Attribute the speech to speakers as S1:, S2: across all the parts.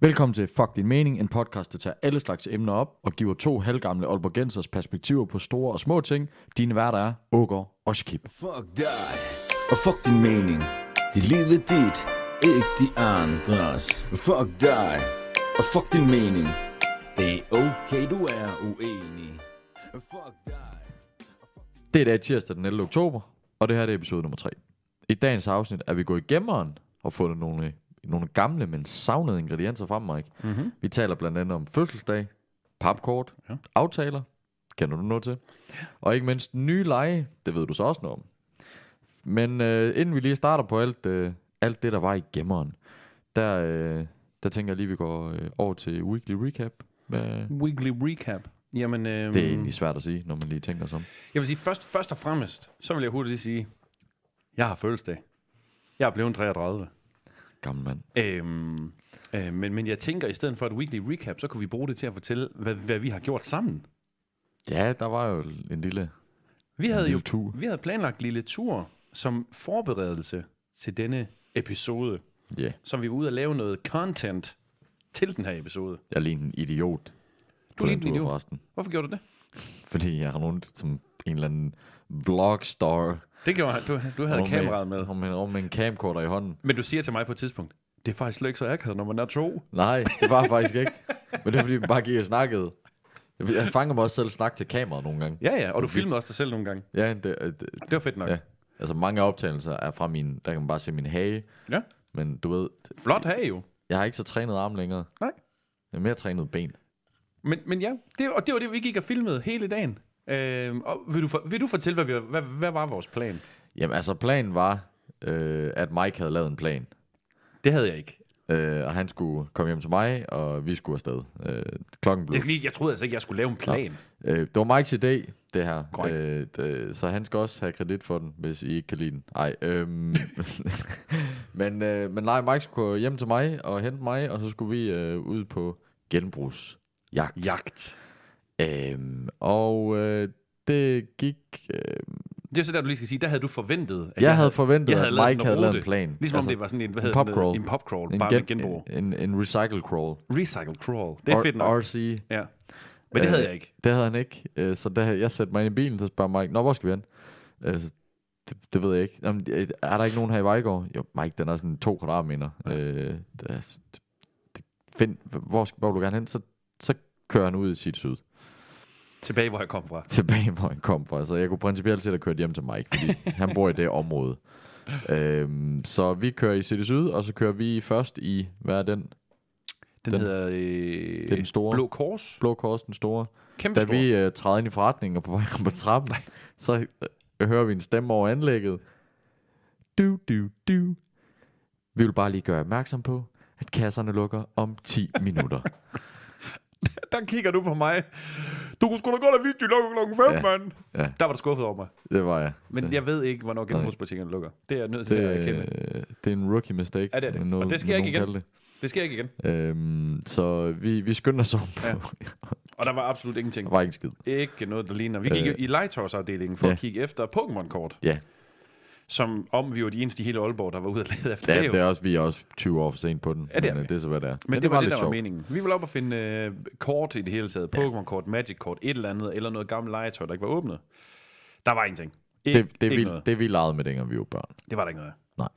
S1: Velkommen til Fuck Din Mening, en podcast, der tager alle slags emner op og giver to halvgamle Aalborgensers perspektiver på store og små ting. Dine værter er Ågaard og Skib.
S2: Fuck dig, og fuck din mening. Dit liv er dit, ikke de andres. Fuck dig, og fuck din mening. Det er okay, du er uenig. Fuck dig.
S1: Det er i dag tirsdag den 11. oktober, og det her det er episode nummer 3. I dagens afsnit er vi gået i gemmeren og fundet nogle, nogle gamle, men savnede ingredienser frem, Mike. Mm-hmm. Vi taler blandt andet om fødselsdag, papkort, ja. aftaler, kender du noget til, og ikke mindst nye lege, det ved du så også noget om. Men øh, inden vi lige starter på alt, øh, alt det, der var i gemmeren, der, øh, der tænker jeg lige, vi går øh, over til weekly recap. Hvad,
S3: Weekly recap. Jamen, øhm,
S1: det er egentlig svært at sige, når man lige tænker sig om.
S3: jeg vil sige, først, først og fremmest, så vil jeg hurtigt lige sige, jeg har fødselsdag. Jeg er blevet 33.
S1: Gammel mand.
S3: Øhm, øh, men, men jeg tænker, i stedet for et weekly recap, så kunne vi bruge det til at fortælle, hvad, hvad vi har gjort sammen.
S1: Ja, der var jo en lille...
S3: Vi havde
S1: lille
S3: jo
S1: tur.
S3: vi havde planlagt en lille tur som forberedelse til denne episode,
S1: Ja, yeah.
S3: som vi var ude at lave noget content til den her episode.
S1: jeg er lige en idiot.
S3: Du
S1: på
S3: er lige
S1: den
S3: en
S1: tur
S3: idiot.
S1: Forresten.
S3: Hvorfor gjorde du det?
S1: Fordi jeg har nogen som en eller anden vlogstar.
S3: Det gjorde du, du havde kameraet med.
S1: Hun med, med en camcorder i hånden.
S3: Men du siger til mig på et tidspunkt, det er faktisk slet ikke så akavet, når man er to.
S1: Nej, det var jeg faktisk ikke. Men det er fordi, vi bare gik og snakkede. Jeg jeg fanger mig også selv snakke til kameraet nogle gange.
S3: Ja, ja, og du filmede også dig selv nogle gange.
S1: Ja, det, øh, det,
S3: Det var fedt nok.
S1: ja. Altså mange af optagelser er fra min, der kan man bare se min hage.
S3: Ja.
S1: Men du ved,
S3: Flot have jo.
S1: jeg har ikke så trænet arm længere.
S3: Nej.
S1: Jeg har mere trænet ben.
S3: Men, men ja, det, og det var det, vi gik og filmede hele dagen. Øhm, og vil du, for, vil du fortælle, hvad, vi, hvad, hvad var vores plan?
S1: Jamen altså, planen var, øh, at Mike havde lavet en plan.
S3: Det havde jeg ikke.
S1: Øh, og han skulle komme hjem til mig, og vi skulle afsted. Øh, klokken blev...
S3: Det, er lige, jeg troede altså ikke, jeg skulle lave en plan.
S1: Øh, det var Mikes idé, det her.
S3: Korrekt.
S1: Øh, det, så han skal også have kredit for den, hvis I ikke kan lide den. Ej, øhm, men, øh, men nej, Mike skulle gå hjem til mig og hente mig, og så skulle vi øh, ud på genbrugsjagt.
S3: Jagt.
S1: Øhm, og øh, det gik... Øh,
S3: Det er så der, du lige skal sige, der havde du forventet, at
S1: jeg, jeg havde forventet,
S3: jeg havde
S1: at
S3: lavet
S1: Mike
S3: sådan en
S1: havde lavet en
S3: rute.
S1: plan.
S3: Ligesom altså, om det var sådan en, hvad
S1: en
S3: hedder sådan
S1: popcrawl.
S3: noget, en popcrawl,
S1: en,
S3: bare med genbrug.
S1: en, en, en recycle crawl.
S3: Recycle crawl. Det er fedt nok.
S1: RC.
S3: Ja. Men det
S1: Øh,
S3: havde jeg ikke.
S1: Det havde han ikke. Øh, Så da jeg satte mig ind i bilen, så spørger Mike, Nå, hvor skal vi hen? Øh, så Det, det ved jeg ikke. Jamen, øh, er der ikke nogen her i Vejgaard? Jo, Mike, den er sådan to kvadratmeter. Ja. Øh, det er s- det- det- find, hvor, skal- hvor vil du gerne hen? Så, så kører han ud i sit syd.
S3: Tilbage, hvor jeg kom fra.
S1: Tilbage, hvor han kom fra. Så jeg kunne principielt set have kørt hjem til Mike, fordi han bor i det område. Øhm, så vi kører i City Syd, og så kører vi først i, hvad er den?
S3: Den,
S1: Den-
S3: den hedder øh,
S1: er den store.
S3: Blå Kors.
S1: Blå Kors, den store.
S3: Kæmpe
S1: Da
S3: stor.
S1: vi øh, træder ind i forretningen og på vej op ad trappen, så øh, hører vi en stemme over anlægget. Du, du, du. Vi vil bare lige gøre opmærksom på, at kasserne lukker om 10 minutter.
S3: Der kigger du på mig. Du kunne sgu da godt have vidst, de lukker klokken 5,
S1: Ja.
S3: ja. mand.
S1: Ja.
S3: Der var du skuffet over mig.
S1: Det var jeg.
S3: Men
S1: det,
S3: jeg ved ikke, hvornår genbrugsbutikkerne lukker. Det er jeg nødt til at
S1: det,
S3: erkende.
S1: øh, det er en rookie mistake.
S3: Ja, det er det.
S1: men
S3: Og det sker
S1: men
S3: ikke
S1: nogen
S3: Det sker ikke igen.
S1: kalder det. Øhm, så vi, vi skynder os om. Ja.
S3: Ja. Og der var absolut ingenting.
S1: der var ikke en skid.
S3: Ikke noget, der ligner. Vi gik jo i legetøjsafdelingen for
S1: ja.
S3: at kigge efter Pokémon-kort.
S1: Ja,
S3: Som om vi var de eneste i hele Aalborg, der var ude og lede efter
S1: det,
S3: det.
S1: er,
S3: jo.
S1: det er også, vi er også 20 år for sent på den.
S3: Ja, det er
S1: men, øh,
S3: vi.
S1: det er så, hvad det er. Men,
S3: Men, det, var det, der var meningen. Vi ville op og finde øh, kort i det hele taget. Pokémon-kort, Magic-kort, et eller andet. Eller noget gammelt legetøj, der ikke var åbnet. Der var ingenting. Ikke,
S1: Det, det,
S3: ikke
S1: vi,
S3: noget.
S1: det vi legede med, dengang vi var børn.
S3: det var der ikke noget af.
S1: Nej.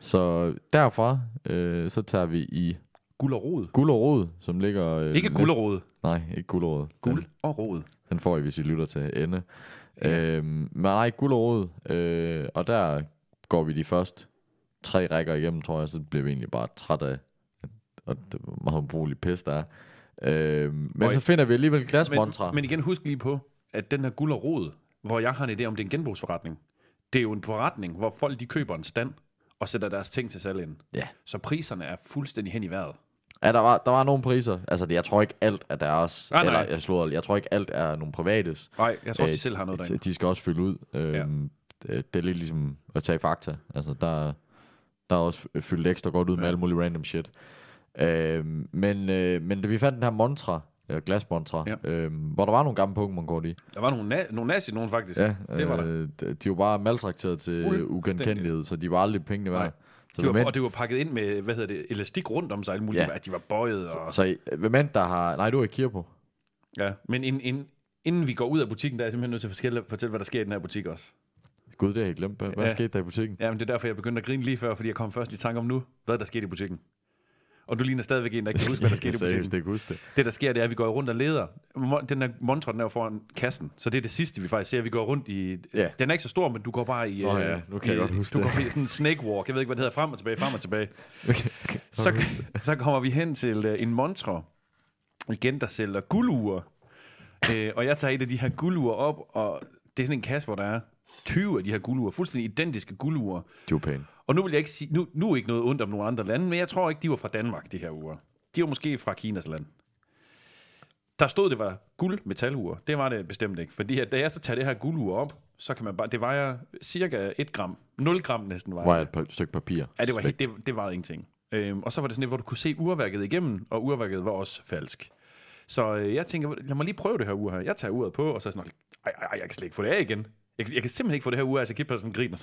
S1: Så derfra, øh, så tager vi i
S3: Guld og rod.
S1: Gullerod, som ligger... Øh,
S3: Ikke guld og rod.
S1: næst- Nej, ikke Gullerod.
S3: Guld
S1: Den,
S3: og rod.
S1: den får I, hvis I lytter til ende. Øhm, men nej, Gullerod. Øh, og der går vi de første tre rækker igennem, tror jeg, så bliver vi egentlig bare træt af, og det er meget ubrugelig pis, der er. Øhm, men
S3: Oj.
S1: så finder vi alligevel et glas Montra.
S3: men, men igen, husk lige på, at den her guld og rod, hvor jeg har en idé om, det er en genbrugsforretning. Det er jo en forretning, hvor folk de køber en stand og sætter deres ting til salg ind.
S1: Ja.
S3: Så priserne er fuldstændig hen i vejret.
S1: Ja, der var, der var nogle priser. Altså, det- jeg tror ikke alt er deres.
S3: Nej, nej.
S1: Eller, jeg, slår, jeg tror ikke alt er nogle privates.
S3: Nej, jeg tror også, de
S1: Øh,
S3: selv har noget derinde.
S1: De skal også fylde ud. Øhm, ja. Det er lidt ligesom at tage fakta. Altså, der, der er også fyldt ekstra godt ud med ja. alt muligt random shit. Øhm, men, øh, men da vi fandt den her Montra, øh, glasmontra, ja.
S3: Ja.
S1: øhm, hvor der var nogle gamle Pokémon-kort i.
S3: Der var nogle, na- nogle nazi nogen faktisk. det var der.
S1: øh, de de var bare maltrakteret til
S3: Fuldstændig.
S1: ugenkendelighed, så de var aldrig pengene værd.
S3: Nej.
S1: Så,
S3: Det var,
S1: hvem,
S3: og det var pakket ind med, hvad hedder det, elastik rundt om sig, alt muligt,
S1: Ja.
S3: ja. at de var bøjet. Og,
S1: så øh, hvem end der har... Nej, du er ikke kigger på.
S3: ja. Men in, in, inden vi går ud af butikken, der er jeg simpelthen nødt til at fortælle, fortælle, hvad der sker i den her butik også.
S1: Gud, det har jeg glemt. Hvad, hvad
S3: Ja.
S1: skete der i butikken?
S3: Ja, men det er derfor, jeg begyndte at grine lige før, fordi jeg kom først i tanke om nu, hvad der skete i butikken. Og du ligner stadigvæk en, der ikke kan huske, hvad der skete i butikken.
S1: Seriøst, det kan huske det.
S3: Det, der sker, det er, at vi går rundt og leder. Mon- Den her montre, den er jo foran kassen, så det er det sidste, vi faktisk ser. Vi går rundt i...
S1: Ja.
S3: Den er ikke så stor, men du går bare i...
S1: Nå
S3: øh,
S1: ja, nu kan jeg
S3: i-
S1: godt huske
S3: Du
S1: det.
S3: går i sådan en snake walk. Jeg ved ikke, hvad det hedder. Frem og tilbage, frem og tilbage. så, så kommer vi hen til øh, en montre, igen, der sælger guldure. Øh, og jeg tager et af de her guldure op, og det er sådan en kasse, hvor der er 20 af de her guldure, fuldstændig identiske guldure.
S1: De var pæne.
S3: Og nu vil jeg ikke sige, nu, nu er ikke noget ondt om nogle andre lande, men jeg tror ikke, de var fra Danmark, de her uger. De var måske fra Kinas land. Der stod, det var guld metalure. Det var det bestemt ikke. Fordi at, da jeg så tager det her guldure op, så kan man bare, det vejer cirka 1 gram. 0 gram næsten vejer.
S1: Var
S3: det.
S1: et par, stykke papir.
S3: Ja, det var, helt,
S1: Svægt.
S3: det, det var ingenting. Øhm, og så var det sådan lidt, hvor du kunne se urværket igennem, og urværket var også falsk. Så øh, jeg tænker, lad mig lige prøve det her ur her. Jeg tager uret på, og så er jeg sådan, ej, ej, ej, jeg kan slet ikke få det af igen. Jeg, kan- jeg kan simpelthen ikke få det her ur af, så Shakib sådan griner.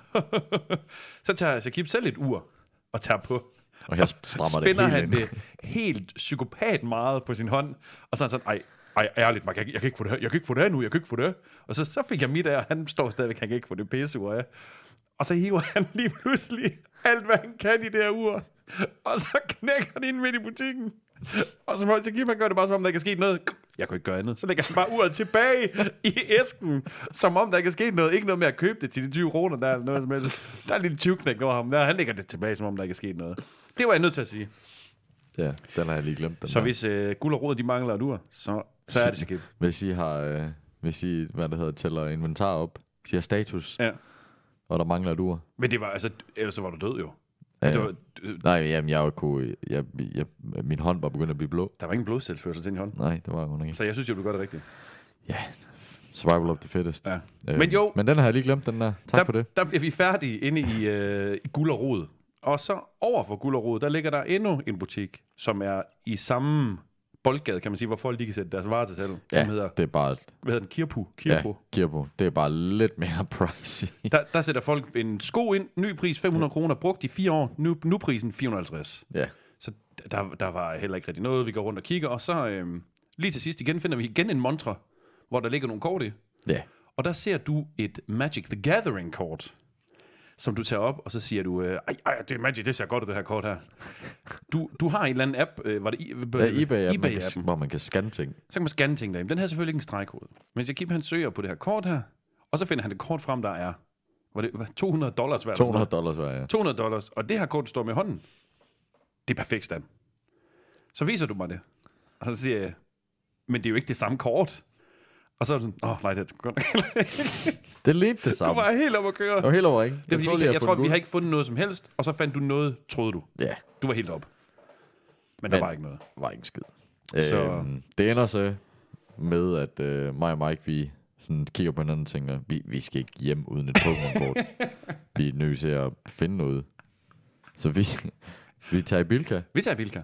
S3: så tager Shakib selv et ur og tager på.
S1: Og her strammer det
S3: Spænder
S1: helt
S3: han
S1: ind.
S3: det helt psykopat meget på sin hånd, og så er han sådan, ej, ej, ærligt, Mark, jeg, jeg, kan ikke få det her, jeg kan ikke få det her nu, jeg kan ikke få det her. Og så, så fik jeg mit af, og han står stadigvæk, han kan ikke få det pisseur af. Og så hiver han lige pludselig alt, hvad han kan i det her ur. Og så knækker han ind midt i butikken. Og så må Kim, han gør det bare, som om der ikke er sket noget. Jeg kunne ikke gøre andet. Så lægger han bare uret tilbage i æsken, som om der ikke er sket noget. Ikke noget med at købe det til de 20 kroner, der er noget som helst. Der er en lille tyvknæk over ham. Der, han lægger det tilbage, som om der ikke er sket noget. Det var jeg nødt til at sige.
S1: Ja, den har jeg lige glemt. Den
S3: Så
S1: der.
S3: hvis øh, guld og rod, de mangler et ur, så, så er det Shakib.
S1: Hvis I har, øh, hvis I, hvad det hedder, tæller inventar op, hvis I har status, ja.
S3: Ja.
S1: og der mangler et ur.
S3: Men det var, altså, ellers så var du død jo.
S1: Ja,
S3: Det
S1: ja.
S3: var,
S1: Øh, Nej, jamen, jeg, kunne, jeg, jeg, min hånd var begyndt at blive blå.
S3: der var ingen blodtilførsel til din hånd.
S1: Nej, det var hun ikke.
S3: Så jeg synes jo, du gør det rigtigt.
S1: Survival of the fittest.
S3: Ja.
S1: Øh,
S3: Men jo.
S1: Men den har jeg lige glemt, den der. Tak
S3: der,
S1: for det.
S3: Der bliver vi færdige inde i, øh, i Guld og Rod. Og så over for Guld og Rod, der ligger der endnu en butik, som er i samme boldgade, kan man sige, hvor folk lige kan sætte deres varer til salg, ja. som hedder,
S1: det er bare...
S3: hvad hedder den, Kirpu.
S1: Ja,
S3: Kirpu.
S1: Kirpo. Det er bare lidt mere pricey.
S3: Ja. Der, der sætter folk en sko ind, ny pris 500 kroner, brugt i fire år, nu, nu prisen 450.
S1: ja.
S3: Så der, der var heller ikke rigtig noget, vi går rundt og kigger, og så øh, lige til sidst igen finder vi igen en montre, hvor der ligger nogle kort i.
S1: Ja.
S3: Og der ser du et Magic the Gathering kort, som du tager op, og så siger du, øh, ej, ej, det er Magic, det ser godt ud, det her kort her. Du, du har en eller anden app, øh, var det I,
S1: Der er eBay,
S3: eBay
S1: eBay hvor man kan scanne ting.
S3: så kan man scanne ting derinde. Den har selvfølgelig ikke en stregkode. Men Jakim, han søger på det her kort her, og så finder han et kort frem, der er var det, hvad, 200 dollars værd. eller
S1: 200
S3: sådan noget.
S1: dollars hver, ja.
S3: 200 dollars, og det her kort, du står med i hånden, det er perfekt stand. Så viser du mig det, og så siger jeg, men det er jo ikke det samme kort. Og så er du sådan, åh oh, nej, det er det godt.
S1: Det er lidt det
S3: Du
S1: samme.
S3: var helt op at køre.
S1: Jeg var helt over, ikke?
S3: Det er, jeg,
S1: troede,
S3: fordi,
S1: jeg
S3: jeg, jeg tror,
S1: havde
S3: vi har
S1: fundet
S3: ikke fundet noget som helst, og så fandt du noget, troede du.
S1: guld. Ja,
S3: Du var helt op. Men der
S1: Men-
S3: var ikke noget.
S1: var ikke en skid.
S3: Så-
S1: Så... Øhm, det ender så med, at øh, mig og Mike, vi sådan kigger på hinanden og tænker, vi, vi skal ikke hjem uden et Pokémon-kort. vi er nødt til at finde noget. Så vi, vi tager i Bilka. Øh,
S3: Vi tager Bilka.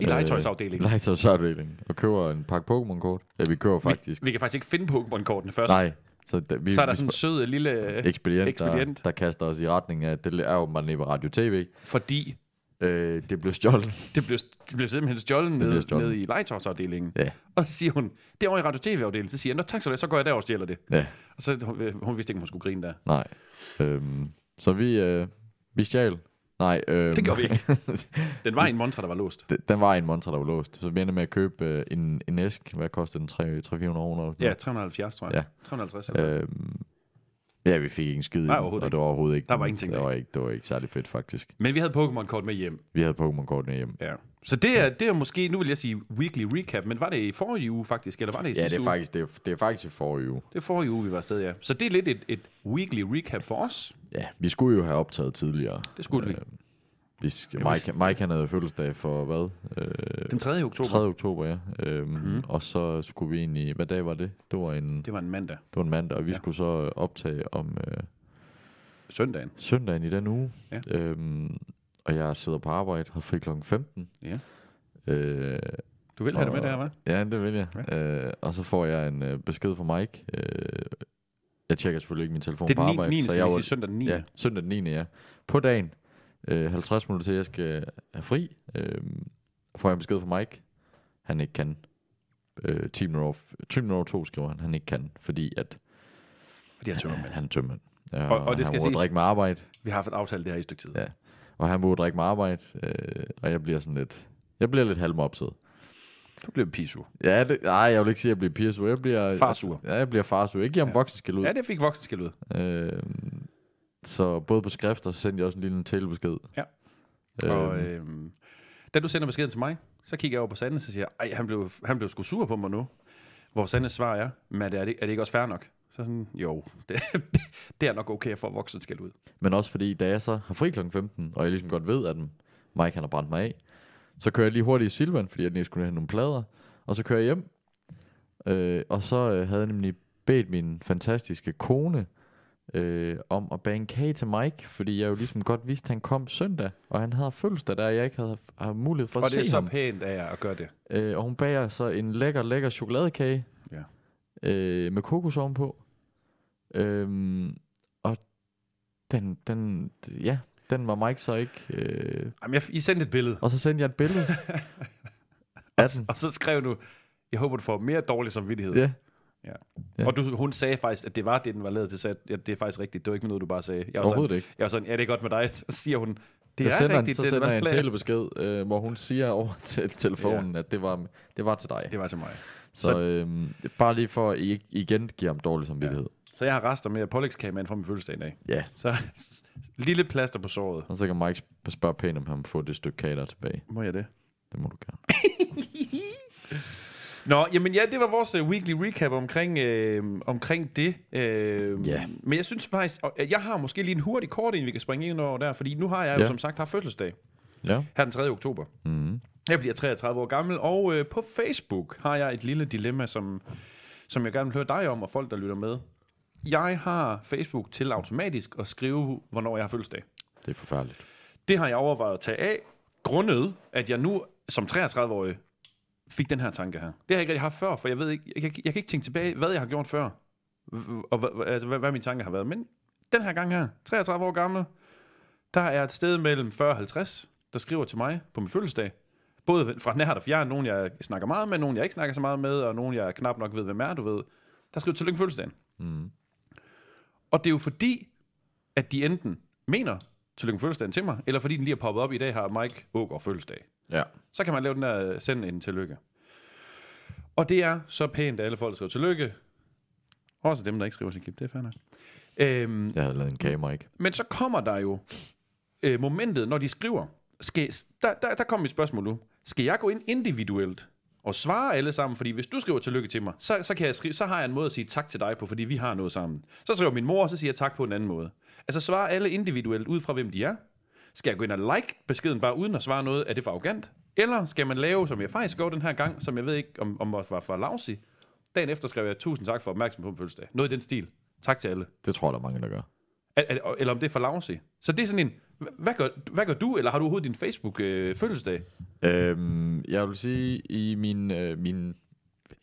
S3: I legetøjsafdelingen.
S1: Legetøjsafdelingen. Og køber en pakke Pokémon-kort. Ja, vi køber faktisk.
S3: Vi kan faktisk ikke finde Pokémon-kortene først.
S1: Nej. Så, da, vi,
S3: Så er der
S1: vi
S3: sådan
S1: spørger
S3: en sød lille... øh,
S1: ekspedient,
S3: ekspedient.
S1: Der, der, kaster os i retning af, at det er jo, man lever radio tv.
S3: Fordi
S1: Øh, det blev stjålet.
S3: det blev, det blev simpelthen stjålet
S1: blev
S3: ned,
S1: stjålet.
S3: ned i legetøjsafdelingen.
S1: Ja.
S3: Og så siger hun, det er over i radio-tv-afdelingen. Så siger jeg, nå tak så det, så går jeg der og stjæler det.
S1: Ja,
S3: Og så hun, hun vidste ikke, om hun skulle grine der.
S1: nej. Øhm, så vi, øh, vi stjal. Nej, øhm,
S3: Det gjorde vi ikke.
S1: ikke.
S3: Den var en montre, der var låst.
S1: Den- den var en monster, der var låst. Så vi endte med at købe øh, en, en æsk. Hvad kostede den? 300-400 kroner?
S3: Ja, Øh. 370, tror jeg.
S1: Ja.
S3: 350. eller hvad.
S1: Øhm, ja, vi fik ikke en skid i
S3: Nej,
S1: den,
S3: overhovedet
S1: og det var overhovedet ikke.
S3: Der var ingenting
S1: Det
S3: der.
S1: var ikke, det var ikke særlig fedt, faktisk.
S3: Men vi havde Pokémon-kort med hjem.
S1: Vi havde Pokémon-kortene hjemme.
S3: Ja. Så det er, det er måske, nu vil jeg sige weekly recap, men var det i forrige uge faktisk, eller var det i
S1: Ja,
S3: sidste
S1: det er
S3: uge?
S1: faktisk, det er, det er faktisk i forrige uge.
S3: Det er forrige uge, vi var afsted, ja. Så det er lidt et, et weekly recap for os.
S1: Ja, vi skulle jo have optaget tidligere. Øhm,
S3: Det skulle vi.
S1: vi. Skal,
S3: Jamen,
S1: Mike, Mike han havde fødselsdag for hvad? Øh,
S3: Den 3. oktober, Mhm.
S1: 3. oktober, ja. Øhm, mm-hmm. Og så skulle vi egentlig... Hvad dag var det? Det var en, det
S3: det var en mandag,
S1: var en mandag, og vi ja.
S3: Ja.
S1: skulle så øh, optage om... Øh,
S3: søndagen.
S1: søndagen i den uge.
S3: Ja.
S1: Øhm, og jeg sidder på arbejde her fri kl. 15.
S3: Ja.
S1: Øh,
S3: Du vil have det med
S1: Og-
S3: der, hva'?
S1: ja, det vil jeg. Ja. Øh, og så får jeg en øh, besked fra Mike. Øh, jeg tjekker selvfølgelig ikke min telefon
S3: Det
S1: på
S3: er den
S1: arbejde.
S3: 9. 9.
S1: så
S3: skal
S1: jeg
S3: jeg
S1: var-
S3: sige, søndag den 9.
S1: Ja, søndag den 9. ja. På dagen, øh, 50 minutter til, jeg skal have fri. Øh, får jeg en besked fra Mike. Han ikke kan. Øh, 10 minutter over, 10 minutter over to, skriver han. Han ikke kan, fordi at
S3: Fordi jeg tømmer
S1: han,
S3: med.
S1: han er tømmer. Ja,
S3: og det
S1: han
S3: skal
S1: må
S3: siges-
S1: drikke med arbejde.
S3: Vi har haft aftalt det her i et stykke tid.
S1: Ja. Og han må drikke med arbejde. Øh, og jeg bliver sådan lidt... Jeg bliver lidt halvmopset.
S3: Du bliver pisu.
S1: Ja, det, nej, jeg vil ikke sige, at jeg bliver pirsur. Jeg bliver...
S3: Farsur.
S1: Ja, jeg bliver farsur. Ikke om ja. voksen skal ud.
S3: Ja, det fik voksenskæld ud.
S1: Øh, så både på skrift, og så sendte jeg også en lille telebesked.
S3: Ja.
S1: Øh,
S3: Og øhm, da du sender beskeden til mig, så kigger jeg over på Sandnes og siger, ej, han blev, han blev sgu sur på mig nu. Hvor Sandnes svar er, men er det, er det, er det ikke også fair nok? Så sådan, jo, det, det er nok okay for voksen skal ud.
S1: Men også fordi, da jeg så har fri kl. 15, og jeg ligesom godt ved, at Mike han har brændt mig af, så kører jeg lige hurtigt i Silvan, fordi jeg lige skulle have nogle plader, og så kører jeg hjem. Øh, og så øh, havde jeg nemlig bedt min fantastiske kone øh, om at bage en kage til Mike, fordi jeg jo ligesom godt vidste, at han kom søndag, og han havde fødselsdag, der jeg ikke havde, havde mulighed for
S3: Og
S1: at
S3: det er
S1: se
S3: så
S1: ham.
S3: pænt af jer at gøre det.
S1: Øh, og hun bager så en lækker, lækker chokoladekage
S3: Ja.
S1: øh, med kokos ovenpå. Øhm, og den, den, ja, den var Mike så ikke. Øh.
S3: Jamen, jeg, I sendte et billede,
S1: Og så sendte jeg et billede af den.
S3: og så skrev du, jeg håber, du får mere dårlig samvittighed.
S1: Ja, ja.
S3: Og du, hun sagde faktisk, at det var det, den var lavet til, så jeg- ja, det er faktisk rigtigt. Det var ikke noget, du bare sagde. Jeg var sådan,
S1: overhovedet ikke.
S3: jeg var sådan ja, det er godt med dig. Så siger hun, det
S1: Jeg
S3: er
S1: sender en,
S3: rigtigt.
S1: så
S3: det,
S1: sender
S3: var
S1: jeg en
S3: lavet."
S1: telebesked, øh, hvor hun siger over til telefonen, at det var, det var til dig.
S3: Det var til mig.
S1: Så øhm, bare lige for at I ikke igen giver ham dårlig samvittighed.
S3: Så jeg har rester med pålægskagemand fra min fødselsdag i dag.
S1: Ja. ja.
S3: Så lille plaster på såret.
S1: Og så kan Mike sp- spørge pænt, om han får det stykke kage der er tilbage.
S3: Må jeg det?
S1: Det må du gøre.
S3: Nå, jamen ja, det var vores øh, weekly recap omkring, øh, omkring det. Øh,
S1: Ja.
S3: Men jeg synes faktisk, og øh, jeg har måske lige en hurtig kort, inden vi kan springe ind over der, fordi nu har jeg jo
S1: Ja.
S3: som sagt haft fødselsdag
S1: Ja.
S3: her den 3. oktober.
S1: Mm.
S3: Jeg bliver 33 år gammel, og øh, på Facebook har jeg et lille dilemma, som, som jeg gerne vil høre dig om, og folk, der lytter med. Jeg har Facebook til automatisk at skrive, hvornår jeg har fødselsdag.
S1: Det er forfærdeligt.
S3: Det har jeg overvejet at tage af, grundet, at jeg nu som 33-årig fik den her tanke her. Det har jeg ikke rigtig haft før, for jeg ved ikke, jeg, jeg, jeg kan ikke tænke tilbage, hvad jeg har gjort før, og, og hvad- altså, hvad, hvad mine tanker har været. Men den her gang her, 33 år gammel, der er et sted mellem 40 og 50, der skriver til mig på min fødselsdag, både fra nært og fjern, nogen jeg snakker meget med, nogen jeg ikke snakker så meget med, og nogen jeg knap nok ved, hvem er, du ved. Der skriver tillykke med fødselsdagen.
S1: Mm.
S3: Og det er jo fordi, at de enten mener, tillykke med fødselsdagen til mig, eller fordi den lige er poppet op i dag, har Mike Ågaard fødselsdag.
S1: Ja.
S3: Så kan man lave den der, øh, sende en tillykke. Og det er så pænt, at alle folk skriver tillykke. Også dem, der ikke skriver sin klip, det er fair nok. Øhm,
S1: Jeg havde lavet en kage, Mike.
S3: men så kommer der jo øh, momentet, når de skriver. Skal, der, der, der kommer et spørgsmål nu. Skal jeg gå ind individuelt og svare alle sammen? Fordi hvis du skriver tillykke til mig, så, så, kan jeg skrive, så har jeg en måde at sige tak til dig på, fordi vi har noget sammen. Så skriver min mor, og så siger jeg tak på en anden måde. Altså svarer alle individuelt ud fra, hvem de er? Skal jeg gå ind og like beskeden bare uden at svare noget? Er det for arrogant? Eller skal man lave, som jeg faktisk gjorde den her gang, som jeg ved ikke, om, om var for lousy? Dagen efter skrev jeg, tusind tak for opmærksomheden på min fødselsdag. Noget i den stil. Tak til alle.
S1: Det tror jeg, der er mange, der gør.
S3: Er, er, eller om det er for lousy. Så det er sådan en, hva- hvad gør, hvad gør du, eller har du overhovedet din øh, Facebook-fødselsdag?
S1: Øhm, jeg vil sige, i min, øh, min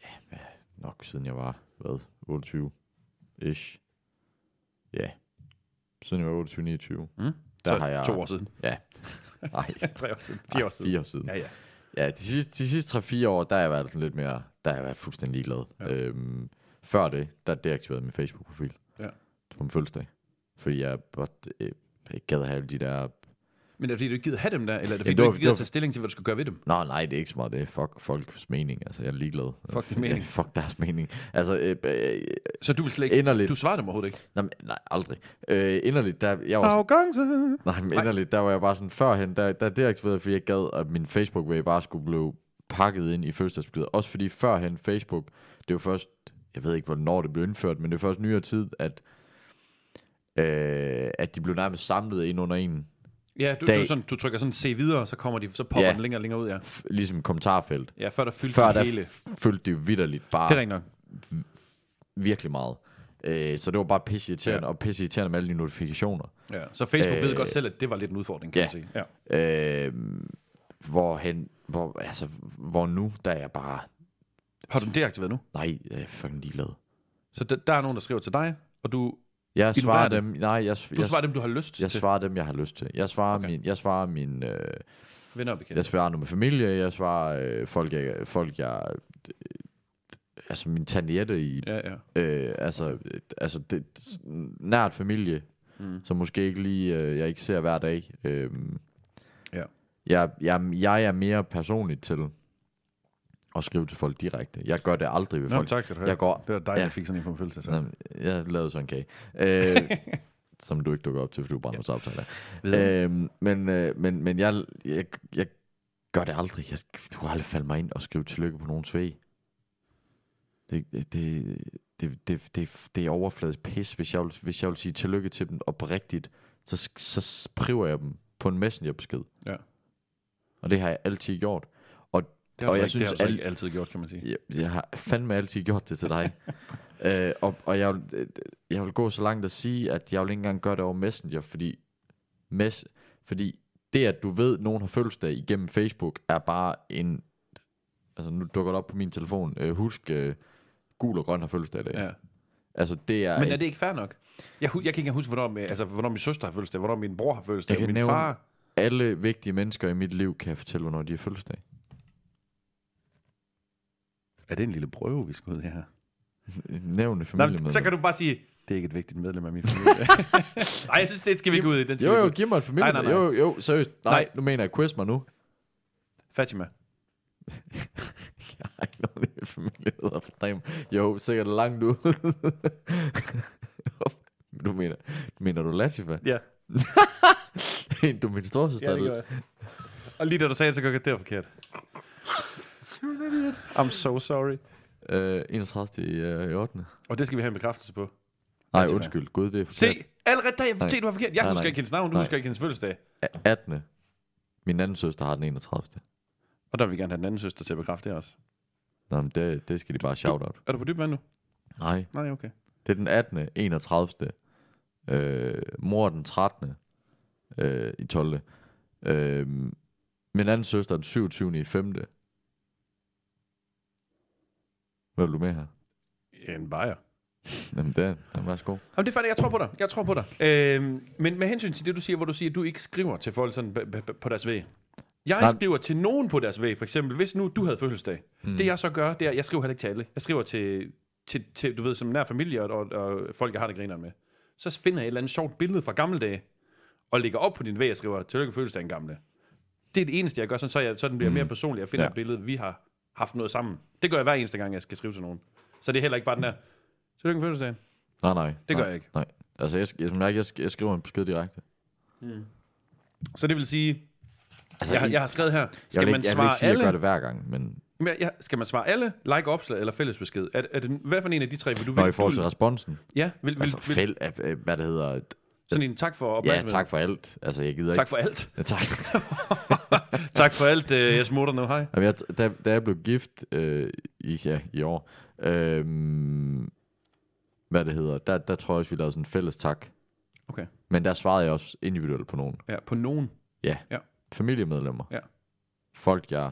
S1: ja, hvad- nok siden jeg var, hvad, 28-ish. Ja. Siden jeg var 28-29.
S3: Mm.
S1: Der har jeg...
S3: To år siden. Ah,
S1: Ja. Nej,
S3: Tre år siden. Fire år siden.
S1: fire år siden.
S3: Ja, ja.
S1: Ja, de sidste, de sidste 3-4 år, der har jeg været sådan lidt mere, der har jeg været fuldstændig ligeglad. Ja. Øhm, før det, der deaktiverede jeg min Facebook-profil.
S3: Ja.
S1: På min fødselsdag. Fordi jeg bare øh, ikke gad have alle de der
S3: Men er det fordi, du ikke gider have dem der, eller er det fordi,
S1: Jamen,
S3: du
S1: det var-
S3: ikke
S1: det
S3: gider
S1: var-
S3: tage stilling til, hvad du skal gøre ved dem?
S1: Nå, nej, det er ikke så meget det. Fuck folks mening. Altså, jeg er ligeglad.
S3: Fuck din mening.
S1: Ja, fuck deres mening. Altså, øh, øh,
S3: Så du vil slet
S1: øh,
S3: ikke...
S1: inderligt.
S3: Du svarer dem overhovedet ikke.
S1: Nej, men- nej, aldrig. Øh, inderligt, der, jeg var,
S3: Arrogance.
S1: nej, men inderligt, der var jeg bare sådan, førhen, der, der deaktiverede jeg, fordi jeg gad, at min facebook bare skulle blive pakket ind i fødselsdagsbeskeder. Også fordi førhen Facebook, det var først, jeg ved ikke, hvornår det blev indført, men det var først nyere tid, at, øh, at de blev nærmest samlet ind under en
S3: Ja, du, du,
S1: Dag.
S3: er sådan, du trykker sådan se videre, så kommer de, så popper
S1: Ja.
S3: den længere og længere ud, ja.
S1: f- ligesom kommentarfelt.
S3: Ja, før der fyldte
S1: Før
S3: Før
S1: der
S3: hele.
S1: f- følte det jo vidderligt bare.
S3: Det er rigtigt nok.
S1: virkelig meget. Øh, så det var bare pisse irriterende,
S3: Ja.
S1: ja. og pisse irriterende med alle de notifikationer.
S3: Ja. Så Facebook øh, ved
S1: Øh,
S3: godt selv, at det var lidt en udfordring, kan
S1: ja.
S3: man sige. Ja.
S1: Øh, hvor hen, hvor, altså, hvor nu, der er jeg bare,
S3: Har du den deaktiveret nu?
S1: nej, jeg er fucking ligeglad.
S3: Så der, der er nogen, der skriver til dig, og du
S1: Jeg svarer
S3: Ignorerer
S1: dem. Nej, jeg,
S3: Du
S1: jeg,
S3: svarer dem, du har lyst
S1: jeg
S3: til.
S1: svarer dem, jeg har lyst til. Jeg svarer
S3: Okay.
S1: okay. min, jeg svarer min, øh,
S3: Venner og bekendte.
S1: jeg svarer nu med familie, jeg svarer øh, folk, jeg, folk, jeg, øh, altså min taniette i
S3: Ja, ja.
S1: øh, altså, øh, altså det, s- nært familie,
S3: Mm.
S1: mm. som måske ikke lige, øh, jeg ikke ser hver dag. Øh,
S3: Ja.
S1: jeg, jeg, jeg er mere personligt til at skrive til folk direkte. Jeg gør det aldrig ved
S3: Nå, men
S1: folk.
S3: tak skal du have.
S1: Jeg går-
S3: Det var dig, ja.
S1: Ja.
S3: jeg fik sådan en på en følelse. Så.
S1: Nå, jeg lavede sådan en kage. Øh, som du ikke dukker op til, fordi du brænder ja. samtaler.
S3: Videre.
S1: Øhm, men, øh, men, men jeg, jeg, jeg gør det aldrig. Jeg, du har aldrig faldet mig ind og skrive tillykke på nogens væg. Det, det, det, det, det, det, det er overfladisk pis. Hvis jeg, vil- hvis jeg vil sige tillykke til dem oprigtigt, så, sk- så skriver jeg dem på en messengerbesked.
S3: Ja.
S1: Og det har jeg altid gjort.
S3: Det har
S1: og
S3: og
S1: jeg
S3: jeg ikke, synes, det
S1: synes,
S3: har du så
S1: alle-
S3: ikke altid gjort, kan man sige.
S1: Jeg, jeg har fandme altid gjort det til dig. øh, og og jeg, vil, øh, jeg vil gå så langt at sige, at jeg vil ikke engang gøre det over Messenger, fordi, mess, fordi det, at du ved, at nogen har fødselsdag igennem Facebook, er bare en... Altså, nu dukker det op på min telefon. Øh, husk, øh, gul og grøn har fødselsdag i dag.
S3: Ja.
S1: Altså, det er...
S3: Men er det ikke fair nok? Jeg, hu- jeg kan ikke engang huske, hvornår, min- altså, hvornår min søster har fødselsdag, hvornår min bror har fødselsdag,
S1: Jeg kan
S3: min
S1: nævne-
S3: far.
S1: Alle vigtige mennesker i mit liv kan jeg fortælle, hvornår de har fødselsdag.
S3: Er det en lille prøve, vi skal ud i her?
S1: Nævne
S3: Nå, men
S1: familiemedlemmer.
S3: så kan du bare sige, det er ikke et vigtigt medlem af min familie. Nej, jeg synes, det skal vi ikke ud i. Den skal
S1: Jo,
S3: vi
S1: jo,
S3: ikke ud i.
S1: giv mig et familie.
S3: Nej, nej, nej.
S1: Jo, jo, seriøst. Nej,
S3: Nej.
S1: nej, nu mener jeg, quiz mig nu.
S3: Fatima.
S1: Jeg har ikke nogen i min familie, der hedder Fadrim. Jo, sikkert langt ud. du mener, mener du Latifa?
S3: Ja,
S1: du er min storsøster.
S3: ja det gør jeg. Og lige da du sagde det, så gør jeg, det var forkert. I'm so sorry.
S1: jeg. Øh, 31 i, øh, i 8.
S3: Og det skal vi have en bekræftelse på.
S1: Nej,
S3: Latifa.
S1: undskyld. Gud, det er forkert.
S3: Se, allerede der, jeg
S1: Nej.
S3: se, du var forkert. Jeg
S1: Nej,
S3: husker
S1: nej.
S3: ikke hendes navn, du
S1: Nej.
S3: husker ikke hendes fødselsdag.
S1: A- 18. Min anden søster har den 31.
S3: Og der vil vi gerne have den anden søster til at bekræfte det også.
S1: Nå, men det, det skal de bare shout out.
S3: Er du på dyb vand nu?
S1: Nej,
S3: Nej, okay.
S1: det er den 18. 31. Øh, mor er den 13. Øh, i 12. Øh, min anden søster er den 27. i 5. Hvad vil du med her?
S3: En bajer.
S1: Jamen, det er den. Værsgo.
S3: Jamen, det er fandme, jeg tror på dig. Jeg tror på dig. Øhm, men med hensyn til det, du siger, hvor du siger, at du ikke skriver til folk sådan b- b- på deres væg. Jeg Nej.
S1: Nej.
S3: skriver til nogen på deres væg, for eksempel, hvis nu du havde fødselsdag. Mm. Det jeg så gør, det er, jeg skriver heller ikke til alle. Jeg skriver til, til, til du ved, som nær familie og, og, og folk, jeg har det griner med. Så finder jeg et eller andet sjovt billede fra gamle dage, og lægger op på din væg og skriver, tillykke med fødselsdagen gamle. Det er det eneste, jeg gør, sådan, så, jeg, så den bliver mm. mere personlig. Jeg finder ja.
S1: Ja.
S3: et billede, vi har haft noget sammen. Det gør jeg hver eneste gang, jeg skal skrive til nogen. Så det er heller ikke bare den der, tillykke med fødselsdagen.
S1: Nej, nej.
S3: Det
S1: nej,
S3: gør jeg ikke.
S1: Nej. Altså, jeg, sk- jeg, som jeg, jeg, sk- jeg skriver en besked direkte.
S3: Så det vil sige,
S1: Altså,
S3: jeg,
S1: I-
S3: jeg har skrevet her,
S1: jeg
S3: skal
S1: vil
S3: man
S1: ikke, jeg vil
S3: svare
S1: ikke sige, at jeg gør
S3: alle?
S1: det hver gang, men
S3: Jamen, jeg- jeg- Skal man svare alle, like opslag eller fællesbesked? Er, er det, hvad for en af de tre vil du
S1: når
S3: vil-
S1: i forhold til
S3: vil-
S1: responsen,
S3: Ja, vil, vil,
S1: altså
S3: vil,
S1: fæld, af, af- hvad det hedder,
S3: sådan en tak for
S1: ja,
S3: opmærksomheden.
S1: tak for alt. Altså, jeg gider
S3: tak for alt.
S1: ikke. Ja, tak.
S3: tak for alt, øh, jeg smutter nu, hej.
S1: Jamen, jeg, da, da jeg blev gift øh, i, ja, i år, øh, hvad det hedder, der, der tror jeg også, vi lavede sådan en fælles tak.
S3: Okay.
S1: Men der svarede jeg også individuelt på nogen.
S3: Ja, på nogen.
S1: Ja.
S3: Ja.
S1: Familiemedlemmer.
S3: Ja.
S1: Folk, jeg...